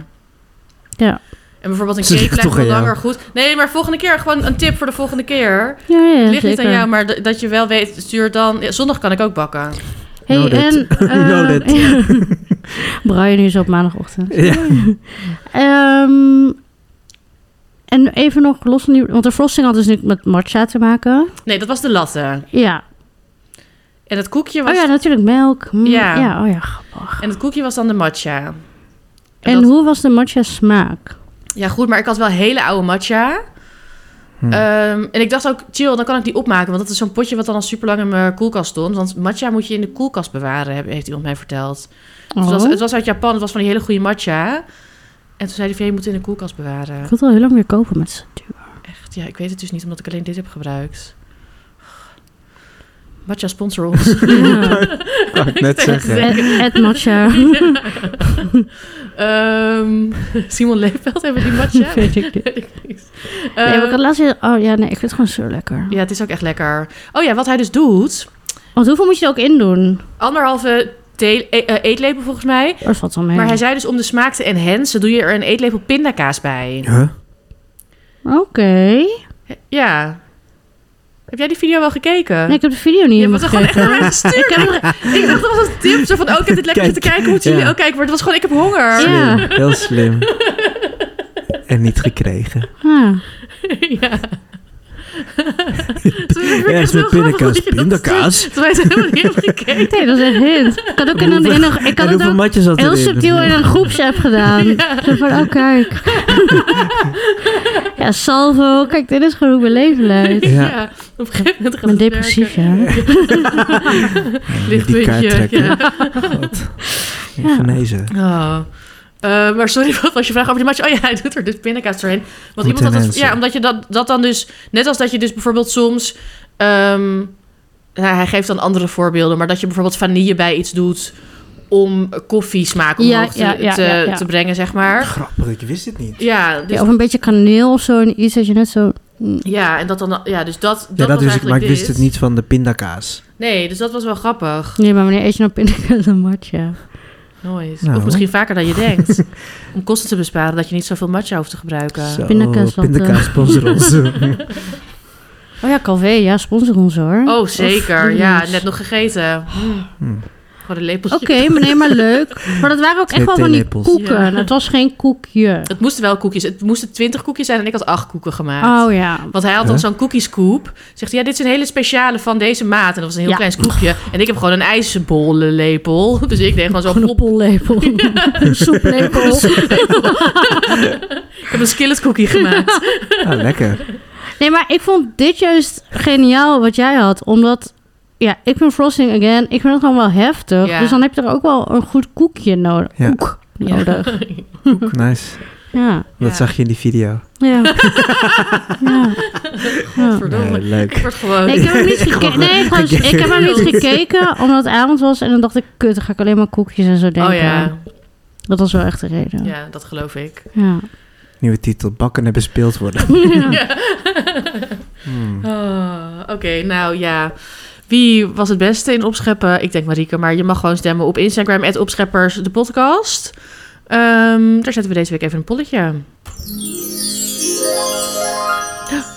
S3: Ja.
S1: En bijvoorbeeld een
S2: Ze
S1: cake
S2: ligt
S1: lijkt
S2: toch
S1: wel
S2: aan jou.
S1: langer goed. Nee, maar volgende keer gewoon een tip voor de volgende keer.
S3: Ja, ja,
S1: Ligt niet aan
S3: zeker.
S1: jou, maar d- dat je wel weet, stuur dan. ja, zondag kan ik ook bakken.
S3: Hey,
S2: Know
S3: en...
S2: that.
S3: eh,
S2: Know that.
S3: Brian is op maandagochtend.
S2: Ja.
S3: Ehm, en even nog los van die... Want de frosting had dus niet met matcha te maken.
S1: Nee, dat was de latte.
S3: Ja.
S1: En het koekje was,
S3: Oh ja, natuurlijk melk. Mm,
S1: Ja.
S3: ja. oh ja, grappig.
S1: en het koekje was dan de matcha. En,
S3: En,
S1: dat-
S3: hoe was de matcha smaak?
S1: Ja, goed, maar ik had wel hele oude matcha.
S2: Hm.
S1: Ehm, en ik dacht ook, chill, dan kan ik die opmaken. Want dat is zo'n potje wat dan al super lang in mijn koelkast stond. Want matcha moet je in de koelkast bewaren, heb- heeft iemand mij verteld. Dus
S3: Oh.
S1: het, was, het was uit Japan, het was van die hele goede matcha. En toen zei hij van, je moet het in de koelkast bewaren.
S3: Ik wil het al heel lang weer kopen met z'n duur.
S1: Echt, ja, ik weet het dus niet, omdat ik alleen dit heb gebruikt. Matcha sponsor ons.
S2: Kan ik net zeggen.
S3: Het, het matcha.
S1: Ehm, Simon Leefveld hebben die matcha.
S3: Weet ik niet.
S1: Weet ik niks.
S3: Nee, maar
S1: Ehm,
S3: ik had laatst weer- Oh ja, nee, ik vind het gewoon zo lekker.
S1: Ja, het is ook echt lekker. Oh ja, wat hij dus doet.
S3: Want hoeveel moet je er ook in doen? Oh,
S1: Anderhalve thee- e- eh, eetlepel volgens mij.
S3: Dat valt wel mee.
S1: Maar hij zei dus om de smaak te enhancen doe je er een eetlepel pindakaas bij.
S2: Huh?
S3: Oké.
S1: Ja. Heb jij die video wel gekeken?
S3: Nee, ik heb de video niet
S1: je
S3: helemaal
S1: hebt het gewoon echt naar
S3: gekeken.
S1: mij gestuurd. ik, ik dacht dat was een tip. Zo van, oh, ik heb dit lekker
S2: Kijk.
S1: zitten kijken. Moeten jullie
S2: Ja.
S1: ook kijken? Maar het was gewoon, ik heb honger.
S3: Ja.
S2: Slim, heel slim. En niet gekregen.
S3: Ja.
S1: ja.
S2: Ja, is met pindakaas. Pindakaas?
S1: Toen wij het helemaal niet hebben gekeken.
S3: Nee, dat is een hint. Ik had ook in een, in een- ik had
S2: en
S3: het
S2: hoeveel
S3: ook
S2: matjes had
S3: heel
S2: erin?
S3: subtiel in een groepsapp gedaan. Zo van, oh kijk. ja, salvo. Kijk, dit is gewoon hoe mijn leven leidt.
S2: Ja.
S1: Op een gegeven moment gaat
S3: Ik ben
S1: het
S3: depressief,
S1: werken.
S2: Met
S3: ja.
S2: die kaart
S1: Lichtpuntje,
S2: trekken.
S1: ja.
S2: God.
S3: Ja.
S2: Genezen.
S1: Oh. Eh, maar sorry, wat was je vraag over die match? Oh ja, hij doet er dus pindakaas doorheen.
S2: Goed
S1: Want iemand had dat,
S2: mensen.
S1: ja, omdat je dat, dat dan dus... Net als dat je dus bijvoorbeeld soms... ehm, ja, hij geeft dan andere voorbeelden. Maar dat je bijvoorbeeld vanille bij iets doet... om koffiesmaak
S3: Ja,
S1: omhoog te,
S3: ja, ja,
S1: te,
S3: ja, ja.
S1: te brengen, zeg maar.
S2: Grappig, ik wist het niet.
S1: Ja, dus
S3: Ja, of een beetje kaneel of zo. En iets dat je net zo...
S1: Ja, en dat dan, ja, dus dat, dat
S2: ja, dat
S1: was
S2: wist ik, maar
S1: eigenlijk dus
S2: ik wist
S1: dit.
S2: het niet van de pindakaas.
S1: Nee, dus dat was wel grappig.
S3: Nee, maar wanneer eet je nou pindakaas en matcha?
S1: Nooit.
S2: Nou.
S1: Of misschien vaker dan je denkt. Om kosten te besparen, dat je niet zoveel matcha hoeft te gebruiken.
S2: Zo,
S3: Pindakaas, wat,
S2: pindakaas sponsor ons.
S3: Oh ja, Calvé, ja, sponsor ons hoor.
S1: Oh,
S3: Hm? Of
S1: zeker.
S3: doe
S1: Ja,
S3: eens.
S1: net nog gegeten. Hm.
S2: Hmm.
S1: Gewoon een lepeltje.
S3: Oké, maar nee, maar leuk. Maar dat waren ook
S2: Twee
S3: echt wel van die
S2: theelepels.
S3: koeken.
S1: Ja.
S3: Het was geen koekje.
S1: Het moesten wel koekjes. Het moesten twintig koekjes zijn en ik had acht koeken gemaakt.
S3: Oh ja.
S1: Want hij had dan
S2: Huh?
S1: zo'n cookiescoop. Zegt hij, ja, dit is een hele speciale van deze maat. En dat was een heel
S3: Ja.
S1: klein scoopje. En ik heb gewoon een ijsbollenlepel. Dus ik deed gewoon zo
S3: Gewoon een
S1: plop.
S3: pollepel. Een soeplepel.
S1: Ik heb een skillet cookie gemaakt.
S2: Ah, lekker.
S3: Nee, maar ik vond dit juist geniaal wat jij had. Omdat, ja, ik ben Frosting Again. Ik vind het gewoon wel heftig.
S1: Ja.
S3: Dus dan heb je er ook wel een goed koekje nodig.
S2: Ja.
S3: Koek nodig.
S2: Nice.
S3: Ja.
S1: Ja.
S2: Dat zag je in die video.
S3: Ja. ja. ja.
S2: Nee,
S1: Verdomme. Ik
S2: leuk.
S1: word gewoon...
S3: Nee, ik heb hem niet gekeken. Nee, trouwens, ik heb hem niet gekeken omdat het avond was. En dan dacht ik, kut, dan ga ik alleen maar koekjes en zo denken.
S1: Oh ja.
S3: Dat was wel echt de reden. Ja.
S1: ja, dat geloof ik.
S3: Ja.
S2: Nieuwe titel, bakken en bespeeld worden. Hmm.
S1: Ja. Oh, Oké, nou ja. Wie was het beste in opscheppen? Ik denk Marieke, maar je mag gewoon stemmen op Instagram, opscheppers, de podcast. Ehm, daar zetten we deze week even een polletje.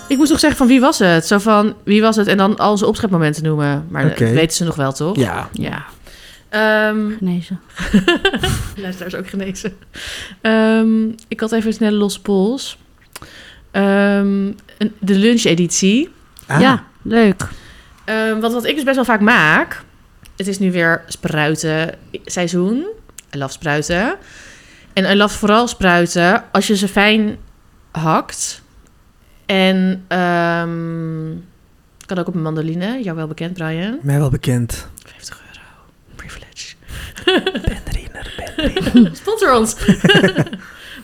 S1: Ik moest nog zeggen van wie was het? Zo van wie was het en dan al onze opschepmomenten noemen. Maar
S2: Oké.
S1: dat weten ze nog wel, toch?
S2: Ja.
S1: Ja. Ehm,
S3: Genezen.
S1: Luisteraars ook genezen. Ehm, ik had even een snelle los pols. Ehm, een- de luncheditie.
S2: Ah,
S3: Ja, leuk.
S1: Ehm want wat ik dus best wel vaak maak... Het is nu weer spruiten seizoen. I love spruiten. En I love vooral spruiten als je ze fijn hakt. En ehm, kan ook op een mandoline. Jou wel bekend, Brian.
S2: Mij wel bekend.
S1: 50 euro. Privilege.
S2: Pendriner,
S1: Sponsor ons.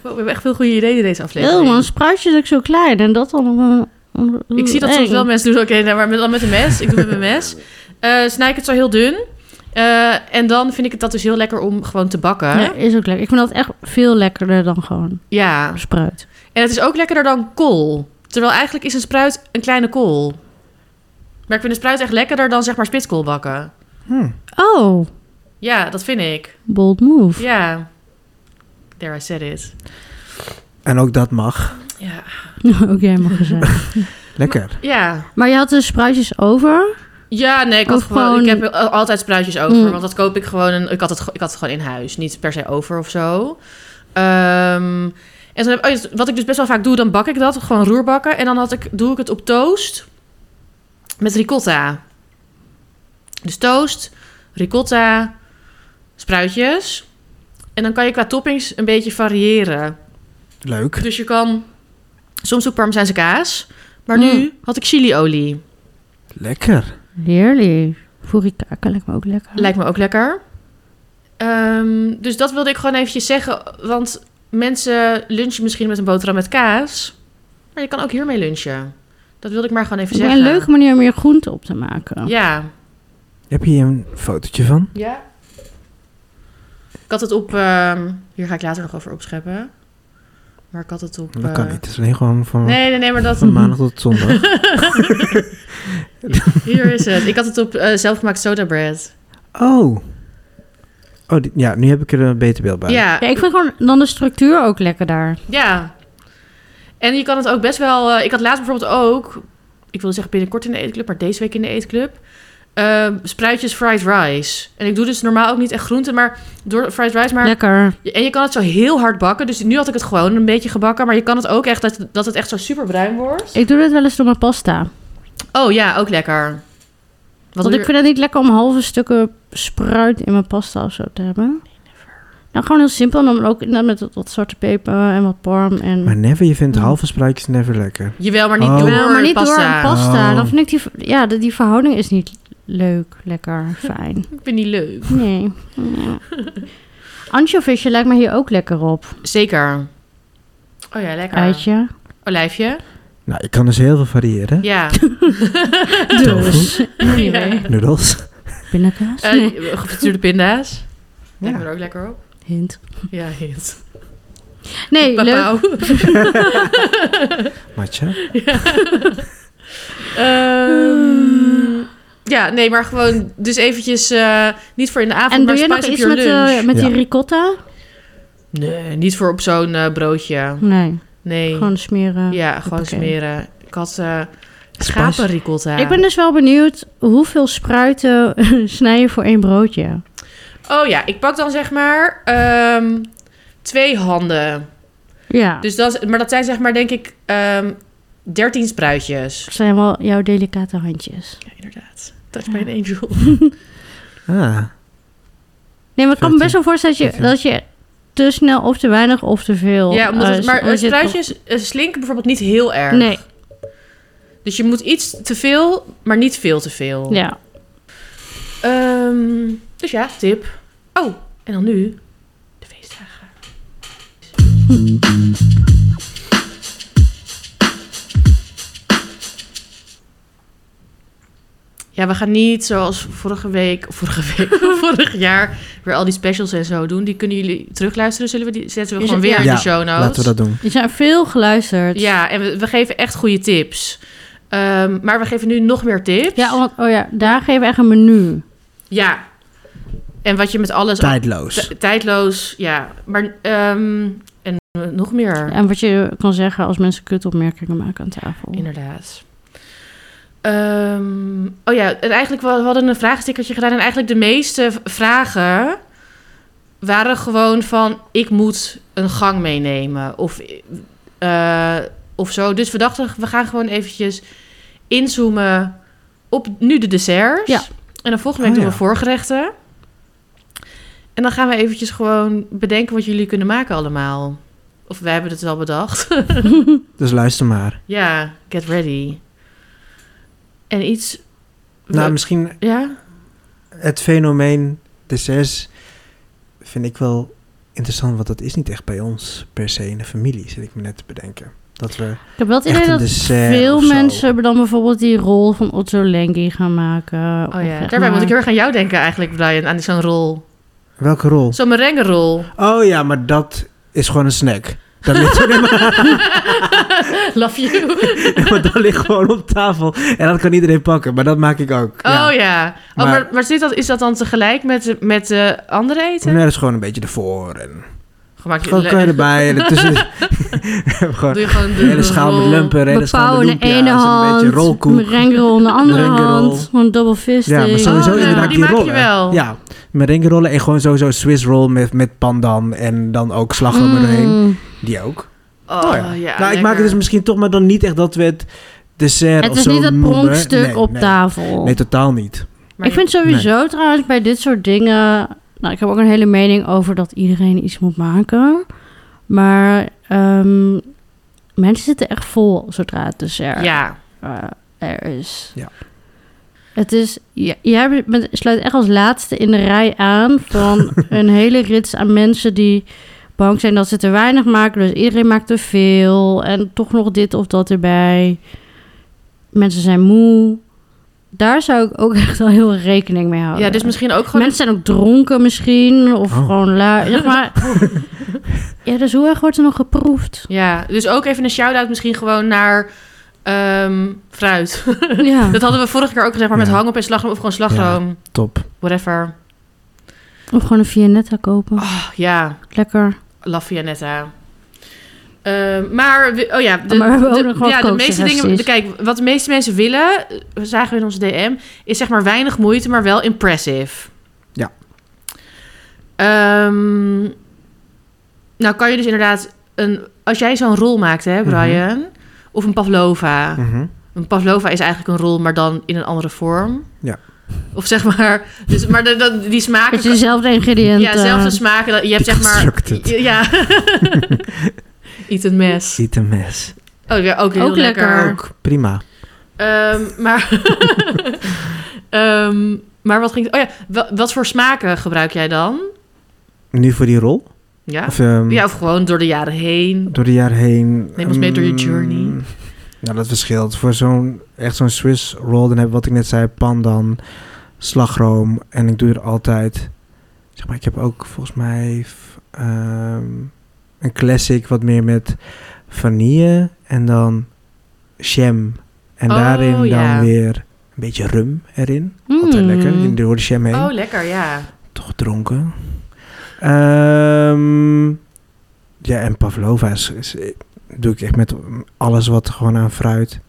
S1: Wow, we hebben echt veel goede ideeën in deze aflevering.
S3: Heel Oh, man, spruitje is ook zo klein. En dat dan... eh,
S1: Ik zie dat soms
S3: eng.
S1: wel mensen doen. Oké, nou, maar met, dan met een mes. Ik doe het met mijn mes. Eh snij ik het zo heel dun. Eh, en dan vind ik het dat dus heel lekker om gewoon te bakken.
S3: Ja, is ook lekker. Ik vind dat echt veel lekkerder dan gewoon
S1: Ja.
S3: spruit.
S1: En het is ook lekkerder dan kool. Terwijl eigenlijk is een spruit een kleine kool. Maar ik vind een spruit echt lekkerder dan zeg maar spitskool bakken.
S2: Hm.
S3: Oh,
S1: Ja, dat vind ik.
S3: bold move.
S1: Ja. There, I said it.
S2: En ook dat mag.
S1: Ja.
S3: ook jij mag het zeggen.
S2: Lekker.
S1: Ja.
S3: Maar je had dus spruitjes over.
S1: Ja, nee, ik, had
S3: Of
S1: gewoon,
S3: gewoon-
S1: ik heb al- altijd spruitjes over.
S3: Mm.
S1: Want dat koop ik gewoon. een- ik, had het, ge- ik had het gewoon in huis. Niet per se over of zo. Ehm, en dan heb, oh, ja, wat ik dus best wel vaak doe, dan bak ik dat. Gewoon roerbakken. En dan had ik, doe ik het op toast. Met ricotta. Dus toast, ricotta, spruitjes. En dan kan je qua toppings een beetje variëren.
S2: Leuk.
S1: Dus je kan soms ook Parmezaanse kaas. Maar nu
S3: Mm.
S1: had ik chiliolie.
S2: Lekker.
S3: Heerlijk. Furikaka lijkt me ook lekker.
S1: Lijkt me ook lekker. Ehm, dus dat wilde ik gewoon eventjes zeggen. Want mensen lunchen misschien met een boterham met kaas. Maar je kan ook hiermee lunchen. Dat wilde ik maar gewoon even
S3: Het is
S1: zeggen.
S3: een leuke manier om je groente op te maken.
S1: Ja.
S2: Heb je hier een fotootje van?
S1: Ja. Ik had het op... ehm, hier ga ik later nog over opscheppen. Maar ik had het op...
S2: Dat kan
S1: eh,
S2: niet. Het is alleen gewoon van,
S1: Nee, nee, nee, maar dat...
S2: van maandag tot zondag.
S1: Hier is het. Ik had het op eh, zelfgemaakt soda bread.
S2: Oh. oh die- ja, nu heb ik er een beter beeld bij.
S1: Ja,
S3: Ja, ik vind gewoon dan de structuur ook lekker daar.
S1: Ja. En je kan het ook best wel... eh, ik had laatst bijvoorbeeld ook... Ik wilde zeggen binnenkort in de eetclub, maar deze week in de eetclub. ehm, spruitjes fried rice. En ik doe dus normaal ook niet echt groenten, maar door fried rice. Maar,
S3: Lekker.
S1: en je kan het zo heel hard bakken. Dus nu had ik het gewoon een beetje gebakken. Maar je kan het ook echt dat, dat het echt zo super bruin wordt.
S3: Ik doe dit wel eens door mijn pasta.
S1: Oh ja, ook lekker. Wat
S3: Want ik vind het niet lekker om halve stukken spruit in mijn pasta of zo te hebben. Nou, gewoon heel simpel. En dan ook inderdaad met wat- wat zwarte peper en wat parm. En...
S2: Maar never, je vindt halve spruitjes never lekker.
S1: Jawel, maar niet
S2: Oh.
S1: door
S3: Jawel, maar niet door
S1: pasta.
S3: een pasta.
S2: Oh.
S3: Dan vind ik die, ver- ja, de- die verhouding is niet leuk, lekker, fijn.
S1: Ik vind die leuk.
S3: Nee. nee. Anchovisje lijkt me hier ook lekker op.
S1: Zeker. Oh ja, lekker.
S3: Eitje.
S1: Olijfje.
S2: Nou, ik kan dus heel veel variëren.
S1: Ja.
S3: Dus.
S1: Ja.
S3: Anyway.
S2: Noedels.
S3: Pindakaas. Nee.
S1: Eh gefrituurde pinda's. Lijkt me
S2: Ja.
S1: er ook lekker op.
S3: Hint.
S1: Ja, hint.
S3: Nee, leuk.
S1: Papau.
S2: Matje?
S1: Ehm, ja, nee, maar gewoon dus eventjes eh, niet voor in de avond,
S3: En doe
S1: maar
S3: je nog
S1: spice op
S3: iets
S1: je
S3: met,
S1: lunch.
S3: eh, met die
S2: Ja.
S3: ricotta?
S1: Nee, niet voor op zo'n eh, broodje.
S3: Nee,
S1: Nee.
S3: gewoon eh, smeren.
S1: ja, gewoon
S3: Hoppakee.
S1: smeren. Ik had eh
S2: Spice.
S1: schapenricotta.
S3: Ik ben dus wel benieuwd hoeveel spruiten snij je voor één broodje?
S1: Oh ja, ik pak dan zeg maar ehm, twee handen.
S3: Ja,
S1: Dus dat, is- maar dat zijn zeg maar denk ik ehm 13 spruitjes.
S3: dat zijn wel jouw delicate handjes.
S1: Ja, inderdaad. Touch by an angel.
S2: Ah,
S3: Nee, maar ik kan me best wel voorstellen dat je,
S2: 14.
S3: dat je te snel of te weinig of te veel...
S1: Ja, omdat
S3: eh,
S1: het,
S3: s-
S1: maar eh,
S3: omdat je het
S1: spruitjes eh, slinken bijvoorbeeld niet heel erg.
S3: toch- Nee,
S1: Dus je moet iets te veel, maar niet veel te veel.
S3: ja.
S1: Ehm, dus ja, tip. Oh, en dan nu de feestdagen. Ja, we gaan niet zoals vorige week, of vorige week, vorig jaar, weer al die specials en zo doen. Die kunnen jullie terugluisteren. Zullen we die zetten we
S3: Is
S1: gewoon
S3: het-
S1: weer in
S2: ja.
S1: de show notes?
S2: laten we dat doen.
S3: Je zijn veel geluisterd.
S1: Ja, en we, we geven echt goede tips. Ehm, maar we geven nu nog meer tips.
S3: Ja, want oh ja, daar geven we echt een menu.
S1: Ja. En wat je met alles
S2: Tijdloos.
S1: T- Tijdloos, ja. Maar, ehm, en eh, nog meer,
S3: En wat je kan zeggen als mensen kutopmerkingen maken aan tafel.
S1: inderdaad. Ehm, oh ja, en eigenlijk, we we hadden een vraagstickertje gedaan... en eigenlijk de meeste v- vragen waren gewoon van... ik moet een gang meenemen of, eh, of zo. Dus we dachten, we gaan gewoon eventjes inzoomen op nu de desserts.
S3: Ja.
S1: En dan volgende week
S2: Oh,
S1: doen
S2: ja.
S1: we voorgerechten. En dan gaan we eventjes gewoon bedenken wat jullie kunnen maken allemaal. Of wij hebben het wel bedacht.
S2: Dus luister maar.
S1: ja, get ready. En iets...
S2: Nou, misschien
S1: ja?
S2: het fenomeen desserts vind ik wel interessant, want dat is niet echt bij ons per se in de familie, zit ik me net te bedenken. Dat we...
S3: Ik heb wel het
S2: Echt
S3: idee
S2: een
S3: dat
S2: dessert
S3: veel
S2: of zo.
S3: mensen hebben dan bijvoorbeeld die rol van Otto Lengi gaan maken. Nou.
S1: Oh ja, daarbij moet ik heel erg aan jou denken eigenlijk, Brian. Aan zo'n rol.
S2: Welke rol?
S1: Zo'n merengerol.
S2: Oh ja, maar dat is gewoon een snack. Dat ligt, nee, maar,
S1: Love you.
S2: nee, maar dat ligt gewoon op tafel. En dat kan iedereen pakken, maar dat maak ik ook.
S1: Oh ja. Oh, maar
S2: Maar-
S1: maar, zit dat, is dat dan tegelijk met, met eh, andere eten?
S2: Nee, dat is gewoon een beetje ervoor. En
S1: Gemaakt
S2: gewoon kan je erbij. En ertussen gewoon
S1: Doe je gewoon de
S2: een hele schaal met
S1: rol.
S2: lumpen, een hele schaal
S3: Bepauw
S2: met
S3: in de
S2: lumpia's,
S3: Mm-hmm. ene
S2: en een
S3: hand,
S2: beetje rolkoek.
S3: merengerol in de andere
S2: Merengerol.
S3: hand, gewoon double fist.
S2: Ja, maar sowieso
S1: Oh, ja.
S2: inderdaad
S1: Die
S2: die,
S1: maak je
S2: rollen.
S1: wel.
S2: Ja, merengerollen en gewoon sowieso Swiss roll met, met pandan en dan ook slagroom erheen.
S3: Mm.
S2: Die ook.
S1: Oh,
S2: Oh
S1: ja.
S2: nou, ik
S1: lekker.
S2: maak het dus misschien toch maar dan niet echt dat we het dessert
S3: Het
S2: of
S3: is
S2: zo
S3: niet dat
S2: noemen.
S3: pronkstuk
S2: Nee,
S3: op
S2: nee.
S3: tafel.
S2: Nee, totaal niet.
S1: Maar
S3: ik vind sowieso trouwens bij dit soort dingen. Nou, ik heb ook een hele mening over dat iedereen iets moet maken. Maar ehm, mensen zitten echt vol zodra het dessert
S1: Ja,
S3: eh, er is.
S2: Ja.
S3: Het is, ja, jij bent- sluit echt als laatste in de rij aan van een hele rits aan mensen die bang zijn dat ze te weinig maken. Dus iedereen maakt te veel en toch nog dit of dat erbij. Mensen zijn moe. Daar zou ik ook echt wel heel erg rekening mee houden.
S1: ja, dus misschien ook gewoon...
S3: Mensen zijn ook dronken misschien of
S2: Oh.
S3: gewoon lui. Zeg maar. ja, dus hoe erg wordt er nog geproefd?
S1: Ja, dus ook even een shout-out misschien gewoon naar ehm, fruit.
S3: Ja.
S1: Dat hadden we vorige keer ook gezegd, maar met
S2: Ja.
S1: hangop en slagroom of gewoon slagroom.
S2: Top.
S1: Whatever.
S3: Of gewoon een Vianetta kopen.
S1: Oh, ja,
S3: Lekker.
S1: La Fianetta. Ehm, maar, we- oh ja, de,
S3: Maar we hebben ook
S1: de-
S3: nog wat
S1: ja, de meeste
S3: kooksuggesties.
S1: dingen. de- Kijk, wat de meeste mensen willen, eh, we zagen we in onze DM, is zeg maar weinig moeite, maar wel impressive.
S2: Ja.
S1: Ehm, nou, kan je dus inderdaad een. Als jij zo'n rol maakt, hè, Brian, of een pavlova.
S2: Mhm.
S1: Een pavlova is eigenlijk een rol, maar dan in een andere vorm.
S2: Ja.
S1: Of zeg maar, dus, maar de, de- die smaken...
S3: Het is dezelfde ingrediënten.
S1: ja, zelfde smaken. dat- Je hebt zeg maar...
S2: Deconstructed.
S1: Ja. Eat een mes.
S2: Ziet een mes.
S1: Oh, ja, ook heel
S3: Ook lekker.
S1: lekker.
S2: Ook prima.
S1: Ehm, maar... Ehm, maar wat ging... Oh ja, wa- wat voor smaken gebruik jij dan?
S2: Nu voor die rol?
S1: Ja?
S2: Of, ehm,
S1: ja, of gewoon door de jaren heen.
S2: door de jaren heen.
S1: Neem ons mee door je
S2: ehm,
S1: journey.
S2: Nou, dat verschilt. Voor zo'n echt zo'n Swiss roll, dan heb ik wat ik net zei, pandan, slagroom. En ik doe er altijd, zeg maar, ik heb ook volgens mij v- ehm, een classic wat meer met vanille en dan jam. En
S1: Oh,
S2: daarin dan
S1: ja.
S2: weer een beetje rum erin. Altijd
S3: Mm.
S2: lekker, in door de jam heen.
S1: Oh, lekker, ja.
S2: Toch dronken. Ehm, ja, en pavlova is, is- doe ik echt met alles wat gewoon aan fruit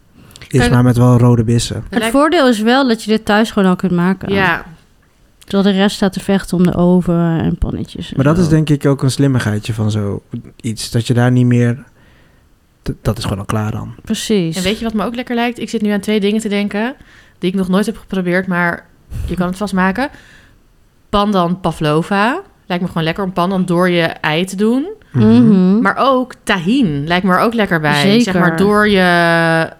S2: is,
S1: Kan-
S2: maar met wel rode bissen.
S1: Het
S3: Het
S1: lijkt-
S3: voordeel is wel dat je dit thuis gewoon al kunt maken.
S1: Ja,
S3: Terwijl de rest staat te vechten om de oven en pannetjes. en
S2: Maar dat
S3: zo.
S2: is denk ik ook een slimmigheidje van zo iets. Dat je daar niet meer... d- Dat is gewoon al klaar dan.
S3: Precies.
S1: en weet je wat me ook lekker lijkt? Ik zit nu aan twee dingen te denken die ik nog nooit heb geprobeerd, maar je kan het vast maken. Pandan pavlova. Lijkt me gewoon lekker om pandan door je ei te doen.
S3: Mhm.
S1: Maar ook tahin lijkt me er ook lekker bij.
S3: Zeker.
S1: Zeg maar door je...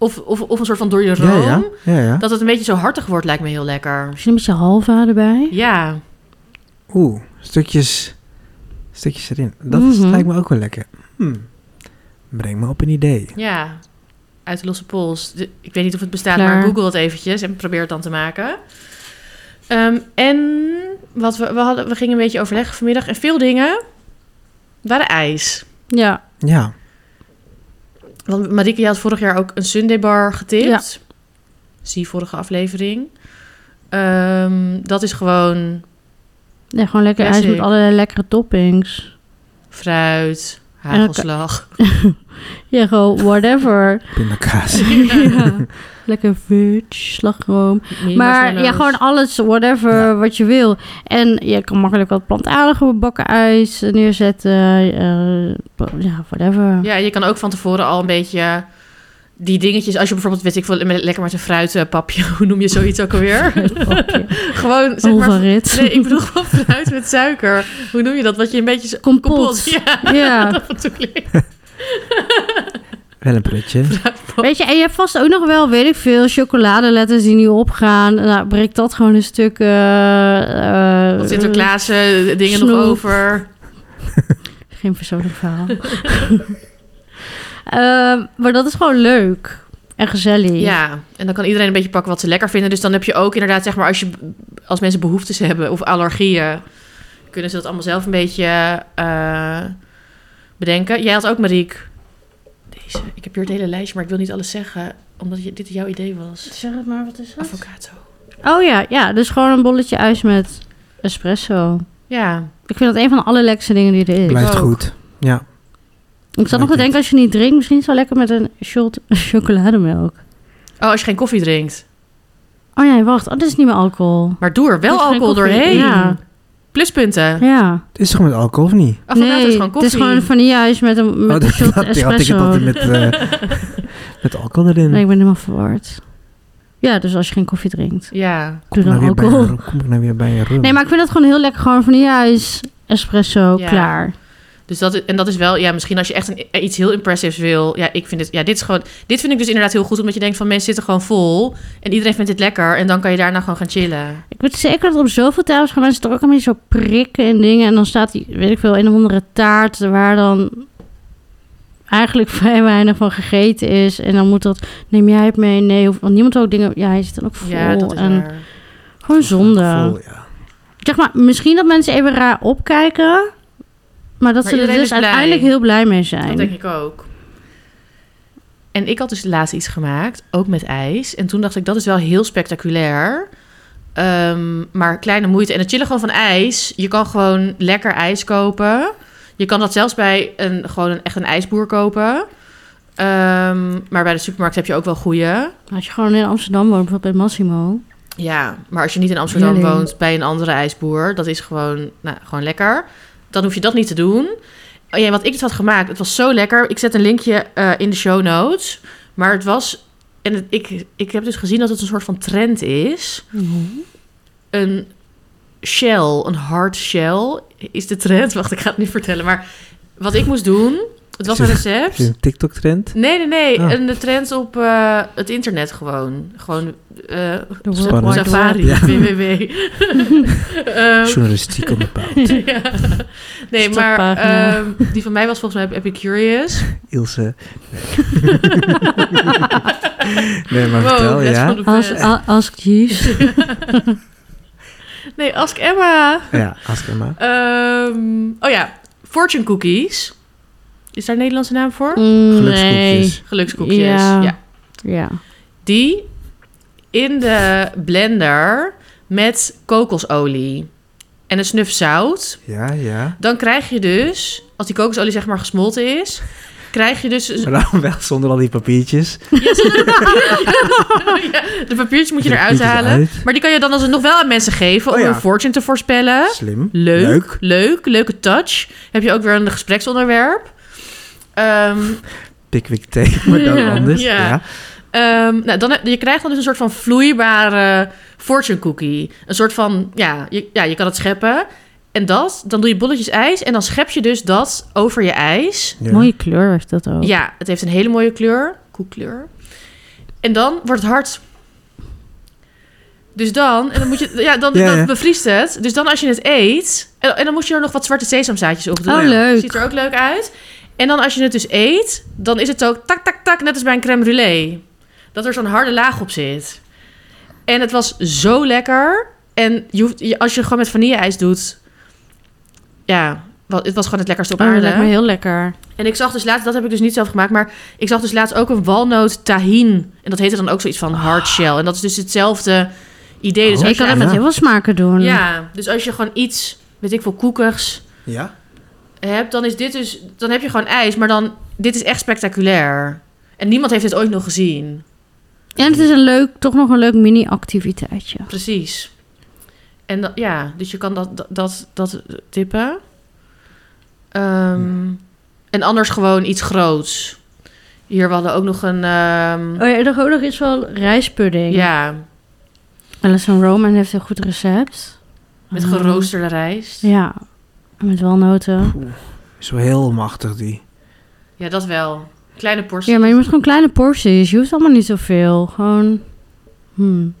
S1: Of, of, of een soort van door je room.
S2: Ja, ja. ja, ja.
S1: Dat het een beetje zo hartig wordt lijkt me heel lekker.
S3: Misschien een beetje halva erbij.
S1: Ja,
S2: Oeh, stukjes, stukjes erin. Dat is-
S3: Mhm.
S2: lijkt me ook wel lekker. Hmm. Breng me op een idee.
S1: ja. Uit de losse pols. De- Ik weet niet of het bestaat,
S3: Klaar.
S1: maar google het eventjes en probeer het dan te maken. Ehm, en wat we, we, hadden, we gingen een beetje overleggen vanmiddag. En veel dingen waren ijs.
S3: Ja.
S2: Ja,
S1: Want Marieke, je had vorig jaar ook een Sunday bar getipt. Zie vorige aflevering. Ehm, dat is gewoon
S3: ja, gewoon lekker
S1: Ja,
S3: ijs met
S1: zeker.
S3: allerlei lekkere toppings.
S1: fruit, hagelslag.
S3: Ja, gewoon whatever.
S2: pindakaas.
S3: Ja. Lekker fudge, slagroom. Maar ja,
S1: marshmallows.
S3: gewoon alles, whatever,
S2: Ja.
S3: wat je wil. En je kan makkelijk wat plantaardige bakken ijs neerzetten. eh, ja, whatever.
S1: Ja, je kan ook van tevoren al een beetje eh, die dingetjes. Als je bijvoorbeeld, weet ik veel, met- lekker met een fruitpapje, hoe noem je zoiets ook alweer?
S3: Papje.
S1: gewoon, zeg maar.
S3: Overrit.
S1: Nee, ik bedoel gewoon fruit met suiker. Hoe noem je dat? Wat je een beetje. zo-
S3: Kompot.
S1: Ja,
S3: Ja,
S1: dat bedoel ik.
S2: wel een pretje.
S3: weet je, en je hebt vast ook nog wel, weet ik veel, chocoladeletters die niet opgaan. Nou, breek dat gewoon een stuk. eh, eh,
S1: Want Sinterklaas eh, dingen nog
S3: Snoep.
S1: over.
S3: Geen persoonlijk verhaal. Ehm, maar dat is gewoon leuk en gezellig.
S1: Ja, en dan kan iedereen een beetje pakken wat ze lekker vinden. Dus dan heb je ook inderdaad, zeg maar, als, je, als mensen behoeftes hebben of allergieën, kunnen ze dat allemaal zelf een beetje eh, bedenken. Jij had ook, Mariek. Deze, ik heb hier het hele lijstje, maar ik wil niet alles zeggen, omdat je, dit jouw idee was.
S3: Zeg het maar, wat is
S1: Avocado.
S3: Oh ja, ja, dus gewoon een bolletje ijs met espresso.
S1: Ja,
S3: Ik vind dat een van de allerlekkerste dingen die er is.
S2: Blijft
S1: ook.
S2: goed. Ja,
S3: Ik zat nog te denken, als je niet drinkt, misschien zo lekker met een shot chocolademelk.
S1: oh, als je geen koffie drinkt.
S3: Oh nee, wacht, oh, dit is niet meer alcohol.
S1: Maar doe er wel
S3: Met geen
S1: alcohol
S3: koffie,
S1: doorheen.
S3: ja.
S1: Pluspunten.
S3: Ja.
S2: het is toch met alcohol of niet?
S1: Avocado Oh, is gewoon
S3: het
S1: koffie.
S3: is gewoon een vanilleijs met een, met
S2: Oh,
S3: een
S2: dat- dat-
S3: shot
S2: die had ik
S3: espresso.
S2: altijd met, eh, met alcohol erin.
S3: Nee, ik ben helemaal verward. Ja, dus als je geen koffie drinkt,
S1: Ja,
S3: doe
S2: nou
S3: dan
S2: weer bij
S3: alcohol.
S2: een- kom ik nou weer bij een rum?
S3: Nee, maar ik vind dat gewoon heel lekker. Gewoon vanilleijs, espresso,
S1: Ja.
S3: klaar.
S1: Dus dat, is- en dat is wel, ja, misschien als je echt een, eh, iets heel impressives wil. Ja, ik vind dit, ja, dit is gewoon, dit vind ik dus inderdaad heel goed, omdat je denkt van mensen zitten gewoon vol en iedereen vindt dit lekker en dan kan je daarna gewoon gaan chillen.
S3: Ik weet zeker dat op zoveel tafels gaan mensen toch ook een beetje zo prikken en dingen. En dan staat die, weet ik veel, een of andere taart waar dan eigenlijk vrij weinig van gegeten is. En dan moet dat, neem jij het mee? Nee, of, want niemand wil ook dingen, ja, hij zit dan ook vol.
S1: ja, dat is
S3: en
S1: waar.
S3: Gewoon zonde.
S2: Vol, ja.
S3: Zeg maar, misschien dat mensen even raar opkijken. Maar dat
S1: Maar
S3: ze er
S1: iedereen
S3: dus
S1: is blij.
S3: uiteindelijk heel blij mee
S1: Dat
S3: zijn.
S1: denk ik ook. En ik had dus laatst iets gemaakt, ook met ijs. En toen dacht ik, dat is wel heel spectaculair. Ehm, maar kleine moeite. En het chillen gewoon van ijs. Je kan gewoon lekker ijs kopen. Je kan dat zelfs bij een, gewoon een, echt een ijsboer kopen. Ehm, maar bij de supermarkt heb je ook wel goede.
S3: Als je gewoon in Amsterdam woont, bijvoorbeeld bij Massimo.
S1: Ja, maar als je niet in Amsterdam
S3: Heerlijk.
S1: woont bij een andere ijsboer, dat is gewoon, nou, gewoon lekker. Dan hoef je dat niet te doen. Oh ja, wat ik het had gemaakt, het was zo lekker. Ik zet een linkje eh, in de show notes. Maar het was, en het- ik, ik heb dus gezien dat het een soort van trend is. Een shell, een hard shell is de trend. Wacht, ik ga het niet vertellen. Maar wat ik moest doen, het was een
S2: Is dit
S1: recept.
S2: een TikTok-trend?
S1: Nee, nee, nee.
S2: Ah.
S1: Een trend op eh, het internet gewoon. Gewoon eh,
S3: De
S1: Sa-
S2: World Wide
S1: Safari,
S2: Web. Ja.
S1: www. Ehm,
S2: Journalistiek op bepaald.
S1: ja. Nee, maar
S3: Stokpagina.
S1: ehm, die van mij was volgens mij Epicurious.
S2: Ilse. Nee, nee maar
S1: Wow,
S2: vertel,
S1: best
S2: ja.
S1: van de
S3: Ask,
S1: best.
S3: a- ask Jeeves.
S1: Nee, Ask Emma.
S2: Ja, als ik maar.
S1: Ehm, oh ja, fortune cookies. Is daar een Nederlandse naam voor?
S3: Mm, nee.
S2: Gelukskoekjes.
S1: Gelukskoekjes.
S3: Ja.
S1: ja.
S3: Ja.
S1: Die in de blender met kokosolie en een snuf zout.
S2: Ja, ja.
S1: Dan krijg je dus, als die kokosolie zeg maar gesmolten is, krijg je dus...
S2: Maar dan wel zonder al die papiertjes.
S1: Ja, de papiertjes moet je
S2: De
S1: eruit
S2: papiertjes
S1: halen.
S2: uit.
S1: Maar die kan je dan alsnog wel aan mensen geven om
S2: Oh ja.
S1: hun fortune te voorspellen.
S2: Slim.
S1: Leuk, leuk, leuke touch. Heb je ook weer een gespreksonderwerp. Ehm,
S2: Pickwick thee, maar dan
S1: Ja,
S2: anders.
S1: ja.
S2: Ja.
S1: ehm, nou, dan, heb- je krijgt dan dus een soort van vloeibare fortune cookie. Een soort van, ja je, ja, je kan het scheppen. En dat, dan doe je bolletjes ijs en dan schep je dus dat over je ijs.
S2: Ja.
S3: Mooie kleur heeft dat ook.
S1: Ja, het heeft een hele mooie kleur, koekkleur. En dan wordt het hard. Dus dan, en dan moet je, ja, dan,
S2: Ja,
S1: dan
S2: ja.
S1: bevriest het. Dus dan als je het eet, en, en dan moet je er nog wat zwarte sesamzaadjes op doen.
S3: Oh, leuk.
S1: Ziet er ook leuk uit. En dan als je het dus eet, dan is het ook tak, tak, tak, net als bij een crème brûlée. Dat er zo'n harde laag op zit. En het was zo lekker. En je hoeft, je- als je gewoon met vanille-ijs doet, ja, wa- het was gewoon het lekkerste op
S3: Oh, dat
S1: aarde.
S3: lijkt me heel lekker.
S1: En ik zag dus laatst, dat heb ik dus niet zelf gemaakt, maar ik zag dus laatst ook een walnoot tahin. En dat heette dan ook zoiets van hard shell. En dat is dus hetzelfde idee. Dus
S2: Oh,
S1: als
S3: ik kan
S1: je,
S2: ja.
S3: het met heel veel smaken doen.
S1: ja, dus als je gewoon iets, weet ik veel, koekers
S2: Ja.
S1: hebt, dan is dit dus, dan heb je gewoon ijs, maar dan, dit is echt spectaculair. En niemand heeft dit ooit nog gezien.
S3: En het is een leuk, toch nog een leuk mini-activiteitje.
S1: Precies. En dat, ja, dus je kan dat, dat- dat, dat tippen. Ehm, En anders gewoon iets groots. Hier, we hadden ook nog een... ehm,
S3: Oh ja, er is ook nog iets van rijstpudding.
S1: ja,
S3: Alison Roman heeft een goed recept.
S1: Met
S3: Ah.
S1: geroosterde rijst. Ja.
S3: Ja, en met walnoten.
S2: Zo heel machtig die.
S1: dat wel. Kleine portie.
S3: Ja, maar je moet gewoon kleine porties. Je hoeft allemaal niet zoveel. Gewoon... Hmm.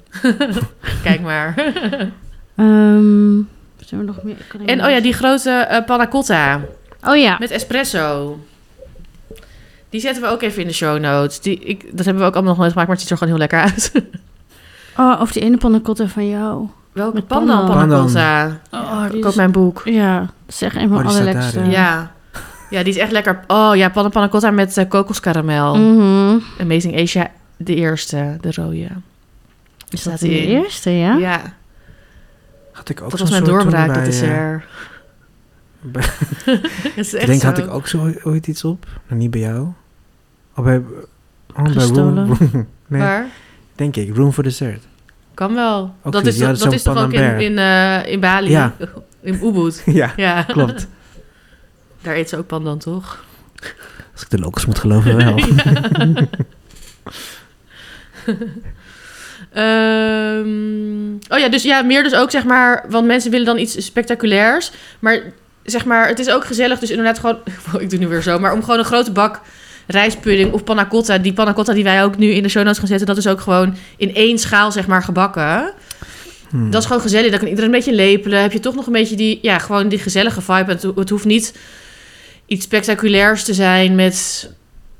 S1: Kijk maar.
S3: Ehm, wat hebben we nog meer? Kan ik
S1: en
S3: nog
S1: oh ja,
S3: iets-
S1: die grote eh panna cotta
S3: Oh ja.
S1: met espresso. Die zetten we ook even in de show notes. Die, ik, dat hebben we ook allemaal nog nooit gemaakt, maar het ziet er gewoon heel lekker uit.
S3: Oh, of die ene panna cotta van jou.
S1: Welke
S3: Met
S1: pandan
S3: pandan.
S1: panna cotta?
S3: Oh,
S1: Oh,
S3: die
S1: Koop
S3: is...
S1: mijn boek.
S3: Ja, dat is echt een
S2: Oh,
S3: van de
S2: die staat daar, ja.
S3: allerlekkerste.
S1: Ja. Ja, die is echt lekker. Oh ja, panna panna cotta met eh, kokoskaramel.
S3: Mhm.
S1: Amazing Asia, de eerste, de rode.
S3: Is
S1: Staat
S3: dat de
S1: die in?
S3: eerste, ja?
S2: Had ik ook
S1: dat
S2: zo'n
S1: was
S2: soort
S1: mijn
S2: toen
S1: doorbraak,
S2: bij,
S1: dat is
S2: eh,
S1: er.
S2: bij-
S1: Dat is
S2: Ik
S1: echt
S2: denk, had
S1: zo.
S2: ik ook zo ooit iets op? Nou, niet bij jou. Of bij... Oh, bij
S3: Gestolen.
S2: Room, Room- nee,
S1: Maar-
S2: denk ik. Room for Dessert.
S1: Kan wel.
S2: Ook
S1: dat
S2: zoiets.
S1: is,
S2: Ja,
S1: toch-
S2: dat
S1: dat
S2: is
S1: is toch
S2: zo'n
S1: ook in,
S2: Panambert.
S1: in, eh, in Bali?
S2: Ja.
S1: In Ubud?
S2: ja,
S1: Ja.
S2: klopt.
S1: Daar eet ze ook pandan, toch?
S2: Als ik de locals moet geloven, wel.
S1: Ehm, oh ja, dus ja, meer dus ook zeg maar... Want mensen willen dan iets spectaculairs. Maar zeg maar, het is ook gezellig. Dus inderdaad gewoon... Ik doe nu weer zo. Maar om gewoon een grote bak rijstpudding of panna cotta... Die panna cotta die wij ook nu in de show notes gaan zetten... Dat is ook gewoon in één schaal zeg maar gebakken.
S2: Hmm.
S1: Dat is gewoon gezellig. Dan kan iedereen een beetje lepelen. Heb je toch nog een beetje die, ja, gewoon die gezellige vibe. Het, ho- het hoeft niet iets spectaculairs te zijn met,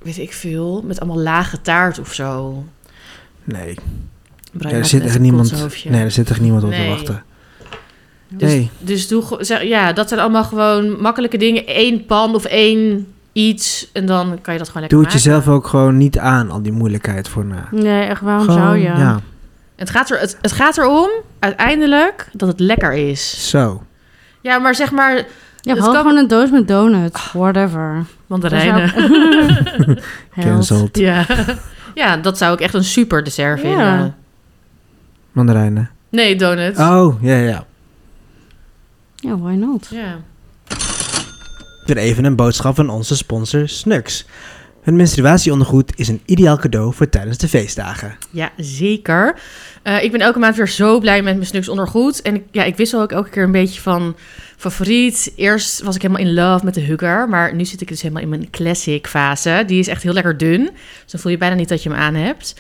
S1: weet ik veel, met allemaal lage taart of zo.
S2: Nee, ja,
S1: Brian
S2: er
S1: maakt
S2: zit
S1: net
S2: echt
S1: een
S2: niemand...
S1: kotshoofdje.
S2: Nee, er zit echt niemand op
S1: Nee.
S2: te wachten.
S1: Dus,
S2: nee.
S1: dus doe, ge- zeg- ja, dat zijn allemaal gewoon makkelijke dingen. Eén pan of één iets. En dan kan je dat gewoon lekker
S2: Doe het
S1: maken.
S2: jezelf ook gewoon niet aan, al die moeilijkheid voor na.
S3: Nee, echt, waarom
S2: Gewoon,
S3: zou je?
S2: Ja,
S1: Het gaat, er, het, het gaat erom, uiteindelijk, dat het lekker is.
S2: zo.
S1: Ja, maar zeg maar
S3: Ja,
S1: Dat
S3: haal
S1: kan-
S3: gewoon een doos met donuts. Whatever.
S1: mandarijnen.
S3: Held.
S2: Cancelled.
S1: Ja. ja, dat zou ik echt een super dessert vinden.
S3: Ja.
S2: Mandarijnen.
S1: Nee, donuts.
S2: Oh, ja, ja.
S3: Ja, why not?
S1: Ja.
S2: Weer even een boodschap van onze sponsor Snux. Hun menstruatieondergoed is een ideaal cadeau voor tijdens de feestdagen.
S1: ja, zeker. Eh, ik ben elke maand weer zo blij met mijn Snux ondergoed. En ik, ja, ik wissel ook elke keer een beetje van favoriet. Eerst was ik helemaal in love met de Hugger. Maar nu zit ik dus helemaal in mijn classic fase. Die is echt heel lekker dun. Dus dan voel je bijna niet dat je hem aan hebt.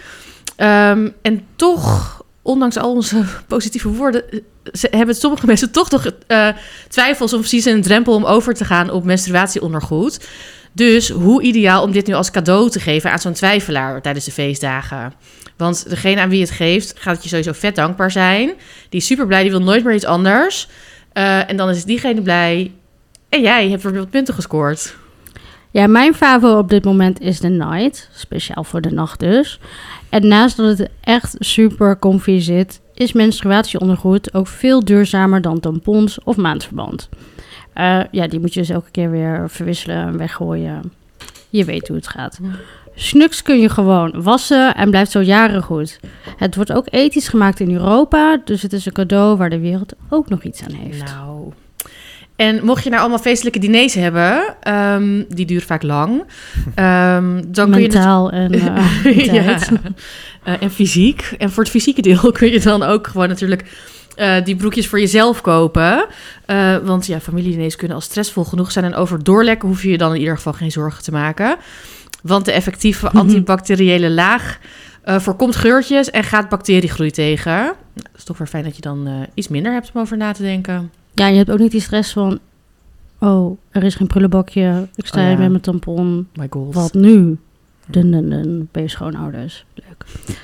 S1: Ehm, en toch, ondanks al onze positieve woorden... eh, ze- hebben sommige mensen toch nog eh, twijfels... of precies een drempel om over te gaan op menstruatieondergoed. Dus hoe ideaal om dit nu als cadeau te geven aan zo'n twijfelaar tijdens de feestdagen. Want degene aan wie je het geeft, gaat het je sowieso vet dankbaar zijn. Die is super blij, die wil nooit meer iets anders. Eh, en dan is diegene blij. En jij hebt weer wat punten gescoord.
S3: Ja, mijn favo op dit moment is de night. Speciaal voor de nacht dus. En naast dat het echt super comfy zit, is menstruatieondergoed ook veel duurzamer dan tampons of maandverband. Eh, ja, die moet je dus elke keer weer verwisselen en weggooien. Je weet hoe het gaat.
S1: Ja.
S3: Snuks kun je gewoon wassen en blijft zo jaren goed. Het wordt ook ethisch gemaakt in Europa, dus het is een cadeau waar de wereld ook nog iets aan heeft.
S1: Nou. En mocht je nou allemaal feestelijke diners hebben, ehm, die duren vaak lang, ehm, dan kun je het-
S3: Mentaal en eh,
S1: ja.
S3: tijd.
S1: Eh, en fysiek. En voor het fysieke deel kun je dan ook gewoon natuurlijk eh, die broekjes voor jezelf kopen. Eh, want ja, familiediners kunnen al stressvol genoeg zijn. En over doorlekken hoef je je dan in ieder geval geen zorgen te maken. Want de
S3: Mhm.
S1: effectieve antibacteriële laag eh, voorkomt geurtjes en gaat bacteriegroei tegen. Nou, Het is toch weer fijn dat je dan eh, iets minder hebt om over na te denken.
S3: Ja, je hebt ook niet die stress van... Oh, er is geen prullenbakje. Ik sta
S1: Oh,
S3: hier
S1: ja.
S3: met mijn tampon.
S1: My god.
S3: Wat nu? Dun, dun, dun. Bij je schoonouders. Leuk.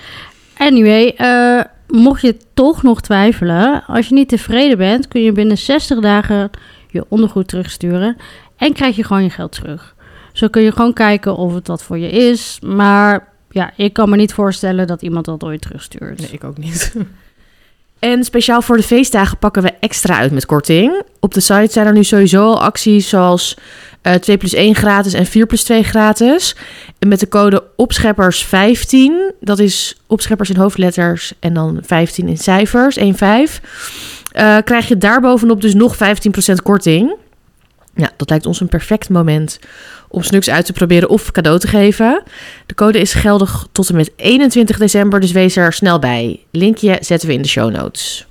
S3: Anyway, eh, mocht je toch nog twijfelen... Als je niet tevreden bent, kun je binnen 60 dagen je ondergoed terugsturen... en krijg je gewoon je geld terug. Zo kun je gewoon kijken of het wat voor je is. Maar ja, ik kan me niet voorstellen dat iemand dat ooit terugstuurt.
S1: Nee, ik ook niet. En speciaal voor de feestdagen pakken we extra uit met korting. Op de site zijn er nu sowieso al acties zoals eh 2 plus 1 gratis en 4 plus 2 gratis. En met de code opscheppers15, dat is opscheppers in hoofdletters en dan 15 in cijfers, 1,5. eh, krijg je daarbovenop dus nog 15% korting. Ja, dat lijkt ons een perfect moment om Snuks uit te proberen of cadeau te geven. De code is geldig tot en met 21 december, dus wees er snel bij. Linkje zetten we in de show notes.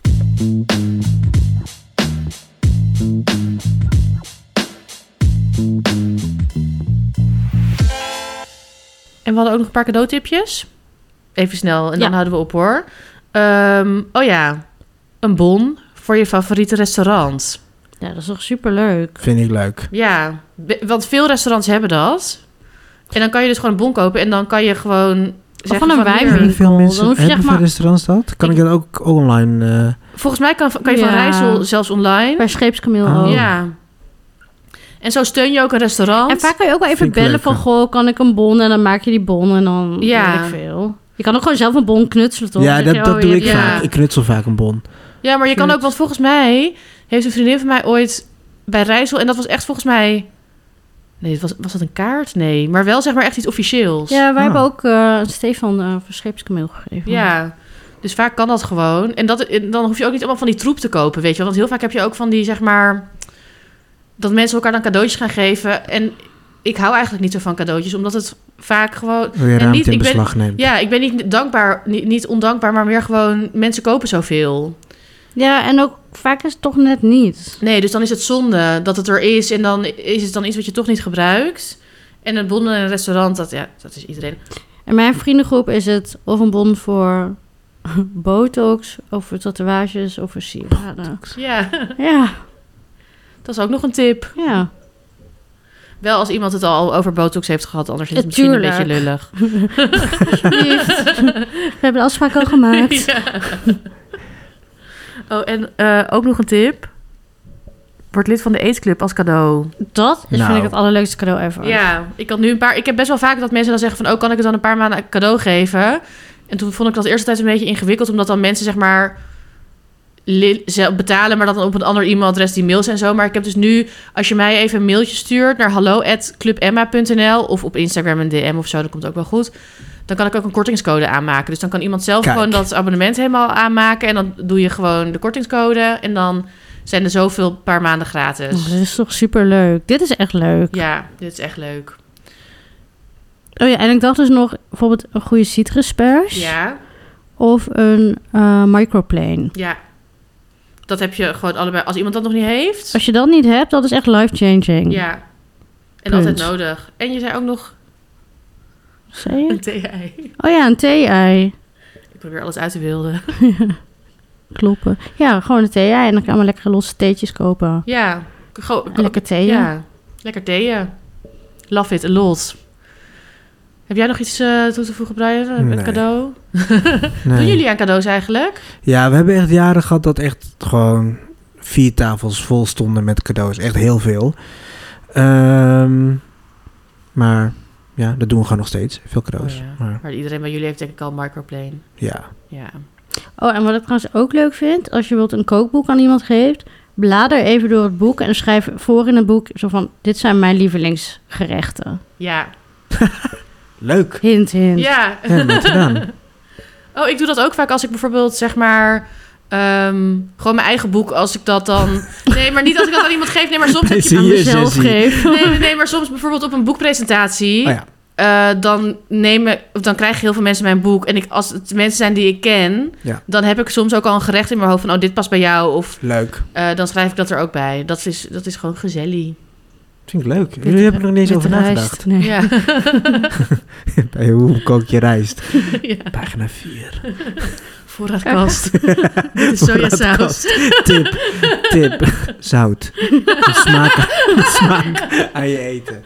S1: En we hadden ook nog een paar cadeautipjes. Even snel, en dan
S3: Ja.
S1: houden we op hoor. Ehm, oh ja, een bon voor je favoriete restaurant.
S3: Ja, dat is toch superleuk?
S2: Vind ik leuk.
S1: Ja, be- want veel restaurants hebben dat. En dan kan je dus gewoon een bon kopen en dan kan je gewoon.
S3: Of
S1: zeggen
S3: van een
S1: hier-
S3: wijnwinkel.
S2: Veel mensen
S3: Dan hoef je
S2: hebben
S3: zeg
S2: voor
S3: maar-
S2: restaurants dat. Kan ik dat ook online? eh,
S1: Volgens mij kan, kan je van
S3: Ja.
S1: Rijssel zelfs online.
S3: Bij Scheepskameel
S2: Oh.
S3: ook.
S1: Ah, Ja. En zo steun je ook een restaurant.
S3: En vaak kan je ook wel even
S2: Vind ik
S3: bellen van...
S2: leuker.
S3: Goh, kan ik een bon? En dan maak je die bon en dan
S1: Ja.
S3: weet ik veel. Je kan ook gewoon zelf een bon knutselen, toch?
S2: ja,
S3: Dan
S2: dat,
S3: zeg je,
S2: dat
S3: oh,
S2: doe
S3: je
S2: ik
S3: hebt-
S1: ja.
S2: vaak. Ik knutsel vaak een bon.
S1: Ja, maar je kan
S3: Cute.
S1: ook, want volgens mij heeft een vriendin van mij ooit bij Rijssel. En dat was echt volgens mij. Nee, het was, was dat een kaart? Nee. Maar wel zeg maar echt iets officieels.
S3: Ja, wij
S2: Ah.
S3: hebben ook eh, Stefan eh van Scheepskameel gegeven.
S1: Ja, dus vaak kan dat gewoon. En dat, en dan hoef je ook niet allemaal van die troep te kopen, weet je wel. Want heel vaak heb je ook van die, zeg maar... Dat mensen elkaar dan cadeautjes gaan geven. En ik hou eigenlijk niet zo van cadeautjes, omdat het vaak gewoon...
S2: Wil je
S1: En
S2: ruimte
S1: niet-
S2: in
S1: ik ben-
S2: beslag nemen.
S1: Ja, ik ben niet dankbaar, niet, niet ondankbaar, maar meer gewoon... Mensen kopen zoveel.
S3: ja, en ook vaak is het toch net niet.
S1: Nee, dus dan is het zonde dat het er is. En dan is het dan iets wat je toch niet gebruikt. En een bon en een restaurant, dat, ja, dat is iedereen.
S3: In mijn vriendengroep is het of een bon voor botox, of voor tatoeages, of voor sieraden.
S1: Ja,
S3: Ja,
S1: dat is ook nog een tip.
S3: ja.
S1: Wel als iemand het al over botox heeft gehad, anders is het
S3: Ja,
S1: misschien een
S3: tuurlijk.
S1: beetje lullig.
S3: Alsjeblieft. We hebben de afspraak al gemaakt.
S1: Ja. Oh, en eh, ook nog een tip. Word lid van de eetclub als cadeau.
S3: Dat is,
S2: Nou.
S3: vind ik het allerleukste cadeau ever.
S1: Ja, ik had nu een paar. Ik heb best wel vaak dat mensen dan zeggen van, oh, kan ik het dan een paar maanden cadeau geven? En toen vond ik dat eerst tijd een beetje ingewikkeld, omdat dan mensen zeg maar li- zelf betalen, maar dat dan op een ander e-mailadres die mails en zo. Maar ik heb dus nu, als je mij even een mailtje stuurt naar hallo@clubemma.nl of op Instagram een DM of zo, dat komt ook wel goed. Dan kan ik ook een kortingscode aanmaken. Dus dan kan iemand zelf
S2: Kijk.
S1: gewoon dat abonnement helemaal aanmaken en dan doe je gewoon de kortingscode en dan zijn er zoveel paar maanden gratis.
S3: Oh, dit is toch super leuk. Dit is echt leuk.
S1: Ja, dit is echt leuk.
S3: Oh ja, en ik dacht dus nog bijvoorbeeld een goede citruspers
S1: Ja.
S3: of een eh, microplane.
S1: Ja. Dat heb je gewoon allebei. Als iemand dat nog niet heeft.
S3: Als je dat niet hebt, dat is echt life-changing.
S1: Ja. En
S3: Punt.
S1: altijd nodig. En je zei ook nog
S3: Zei je?
S1: een TI.
S3: Oh ja, een thee-ei.
S1: Ik probeer alles uit te wilden.
S3: Kloppen. Ja, gewoon een thee-ei. En dan kan je lekker losse theetjes kopen.
S1: Ja. Go-
S3: En lekker thee. Ja.
S1: ja. Lekker theeën. Love it a lot. Heb jij nog iets eh, toe te voegen, Brian? Een
S2: Nee.
S1: cadeau?
S2: Nee.
S1: Doen jullie aan cadeaus eigenlijk?
S2: Ja, we hebben echt jaren gehad dat echt gewoon vier tafels vol stonden met cadeaus. Echt heel veel. Ehm, Maar ja, dat doen we gewoon nog steeds. Veel cadeaus.
S1: Oh ja.
S2: Maar
S1: Maar iedereen bij jullie heeft denk ik al een microplane.
S2: ja.
S1: Ja.
S3: Oh, en wat ik trouwens ook leuk vind, als je bijvoorbeeld een kookboek aan iemand geeft, blader even door het boek en schrijf voor in het boek zo van, dit zijn mijn lievelingsgerechten.
S1: Ja.
S2: Leuk.
S3: Hint, hint.
S1: Ja.
S2: En wat gedaan.
S1: Oh, ik doe dat ook vaak als ik bijvoorbeeld zeg maar. ehm, gewoon mijn eigen boek, als ik dat dan. Nee, maar niet als ik dat aan iemand geef. Nee, maar soms heb je.
S2: Zie
S3: Aan
S2: je,
S3: mezelf
S2: Jessie?
S3: geven.
S1: Nee, nee, nee, maar soms bijvoorbeeld op een boekpresentatie.
S2: Oh ja.
S1: eh, dan, nemen, of dan krijgen heel veel mensen mijn boek. En ik, als het mensen zijn die ik ken,
S2: Ja.
S1: dan heb ik soms ook al een gerecht in mijn hoofd van: oh, dit past bij jou. Of
S2: Leuk.
S1: eh, dan schrijf ik dat er ook bij. Dat is, dat is gewoon gezellig.
S2: Vind ik leuk. Jullie hebben er nog niet eens
S3: Met
S2: over nagedacht.
S3: rijst. Nee.
S1: Ja.
S2: Bij hoe kook je rijst?
S1: ja.
S2: Pagina 4.
S1: Voorraadkast. dit is sojasaus.
S2: Voorraadkast. Tip. Tip. Zout. De smaak, de smaak aan je eten.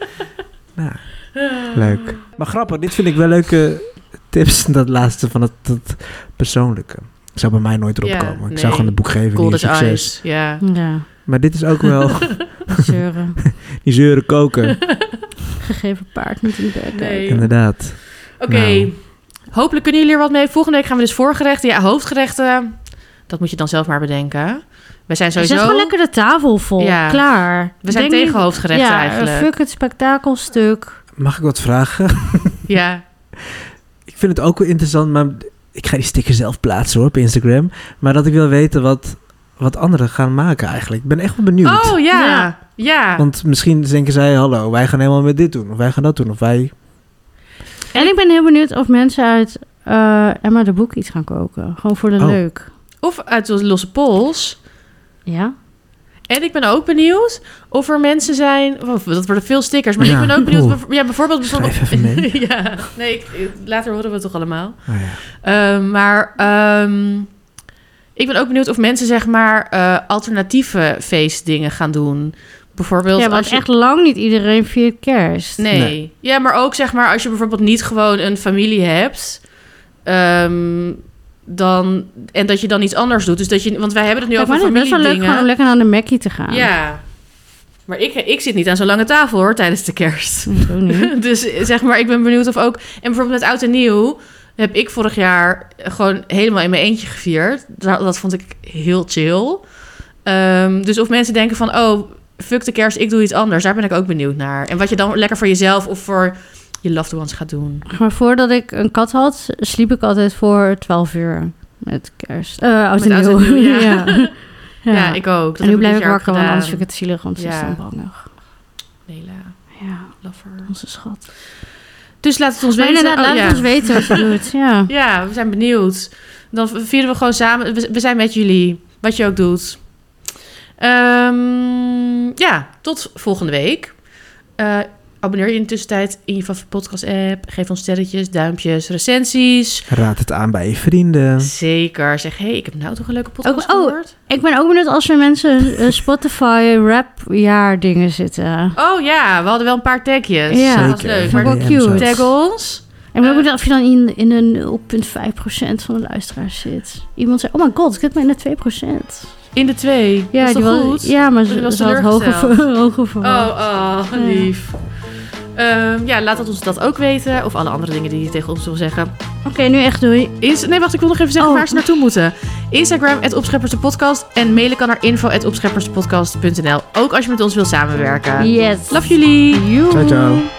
S2: Nou, leuk. Maar grappig, dit vind ik wel leuke tips. Dat laatste van het, dat persoonlijke. Zou bij mij nooit erop
S1: Ja,
S2: komen. Ik
S1: nee.
S2: zou gewoon het boek geven.
S1: Cold
S2: Niet
S1: as
S2: succes.
S1: ice. Ja.
S3: Ja,
S2: Maar dit is ook wel
S3: zeuren.
S2: die zeuren koken.
S3: Gegeven paard niet in bed.
S1: Nee.
S2: Inderdaad.
S1: Oké.
S2: Nou.
S1: Hopelijk kunnen jullie er wat mee. Volgende week gaan we dus voorgerechten. Ja, hoofdgerechten. Dat moet je dan zelf maar bedenken. We zijn
S3: Zet
S1: sowieso...
S3: gewoon lekker de tafel vol.
S1: Ja.
S3: Klaar.
S1: We zijn
S3: Denk
S1: tegen
S3: niet-
S1: hoofdgerechten
S3: ja, eh,
S1: eigenlijk.
S3: fuck het spektakelstuk.
S2: Mag ik wat vragen?
S1: Ja.
S2: Ik vind het ook wel interessant, maar ik ga die sticker zelf plaatsen hoor op Instagram. Maar dat ik wil weten wat, wat anderen gaan maken eigenlijk. Ik ben echt wel benieuwd.
S1: Oh, ja. Ja.
S3: Ja.
S2: Want misschien denken zij, hallo, wij gaan helemaal met dit doen. Of wij gaan dat doen. Of wij...
S3: En ik ben heel benieuwd of mensen uit eh, Emma de Boek iets gaan koken. Gewoon voor de
S2: Oh.
S3: leuk.
S1: Of uit de losse pols.
S3: Ja?
S1: En ik ben ook benieuwd of er mensen zijn... Oh, dat worden veel stickers. Maar
S2: Ja.
S1: ik ben ook benieuwd...
S2: Oeh.
S1: bijv- Ja, bijvoorbeeld...
S2: Schrijf even mee.
S1: ja. Nee, ik- later horen we het toch allemaal.
S2: Oh ja.
S1: Ehm, maar ehm, ik ben ook benieuwd of mensen zeg maar eh, alternatieve feestdingen gaan doen. Bijvoorbeeld
S3: Ja, want
S1: als je...
S3: echt lang niet iedereen viert kerst.
S1: Nee.
S2: Nee.
S1: Ja, maar ook zeg maar als je bijvoorbeeld niet gewoon een familie hebt... ehm, dan, en dat je dan iets anders doet. Dus dat je, want wij hebben het nu
S3: Lijkt
S1: over
S3: mij best wel leuk
S1: familiedingen.
S3: gewoon om lekker naar de Mackie te gaan.
S1: ja. Maar ik, ik zit niet aan zo'n lange tafel hoor, tijdens de kerst.
S3: Zo niet.
S1: Dus eh, zeg maar, ik ben benieuwd of ook... En bijvoorbeeld met Oud en Nieuw heb ik vorig jaar gewoon helemaal in mijn eentje gevierd. Da- Dat vond ik heel chill. Ehm, dus of mensen denken van, oh, fuck de kerst, ik doe iets anders. Daar ben ik ook benieuwd naar. En wat je dan lekker voor jezelf of voor je loved ones gaat doen.
S3: Maar voordat ik een kat had, sliep ik altijd voor 12 uur met kerst. Eh, oud
S1: Met
S3: en
S1: Oud en
S3: nieuw.
S1: Nieuw, ja.
S3: ja.
S1: Ja,
S3: Ja.
S1: ik ook. Dat
S3: en nu
S1: heb
S3: blijf
S1: dit
S3: ik
S1: jaar ook
S3: wakker, want
S1: gedaan.
S3: anders vind ik het zielig, want ze
S1: Ja.
S3: is dan bangig.
S1: Nela,
S3: Ja,
S1: lover.
S3: onze schat.
S1: Dus laat het ons
S3: Maar
S1: weten.
S3: inderdaad,
S1: Oh,
S3: laat
S1: ja.
S3: het ons weten wat je doet. Ja.
S1: Ja, we zijn benieuwd. Dan vieren we gewoon samen. We we zijn met jullie, wat je ook doet. Ehm, ja, tot volgende week. Eh, abonneer je in de tussentijd in je favoriete podcast-app. Geef ons sterretjes, duimpjes, recensies.
S2: Raad het aan bij je vrienden.
S1: Zeker. Zeg, hey, ik heb nou toch een leuke podcast
S3: Ook- oh.
S1: gehoord.
S3: Ik ben ook benieuwd als er mensen hun, eh, Spotify rap jaar dingen zitten.
S1: Oh ja, we hadden wel een paar tagjes.
S3: Ja.
S1: dat was
S2: Zeker.
S1: leuk.
S2: Van
S1: Maar
S3: Wel
S2: die
S3: cute.
S2: episodes.
S1: tag ons.
S3: En ik
S1: Eh.
S3: ben ook of je dan in, in de 0,5% van de luisteraars zit. Iemand zei, oh my god, ik zit maar in de 2%.
S1: In de twee.
S3: Ja,
S1: dat is
S3: die
S1: toch
S3: was,
S1: goed?
S3: Ja, maar
S1: Die
S3: ze,
S1: was
S3: ze had hoger,
S1: teleurgesteld.
S3: ver- hoger verwacht.
S1: Oh, oh, lief. Ehm, ja, laat het ons dat ook weten. Of alle andere dingen die je tegen ons wil zeggen.
S3: Oh. Oké, nu echt doei.
S1: Inst- nee, wacht, ik wil nog even zeggen
S3: Oh.
S1: waar ze naartoe moeten. Instagram, at Opscheppers de podcast. En mailen kan naar info, at opscheppersdepodcast.nl. Ook als je met ons wilt samenwerken.
S3: Yes.
S1: Love jullie!
S3: You.
S2: Ciao, ciao.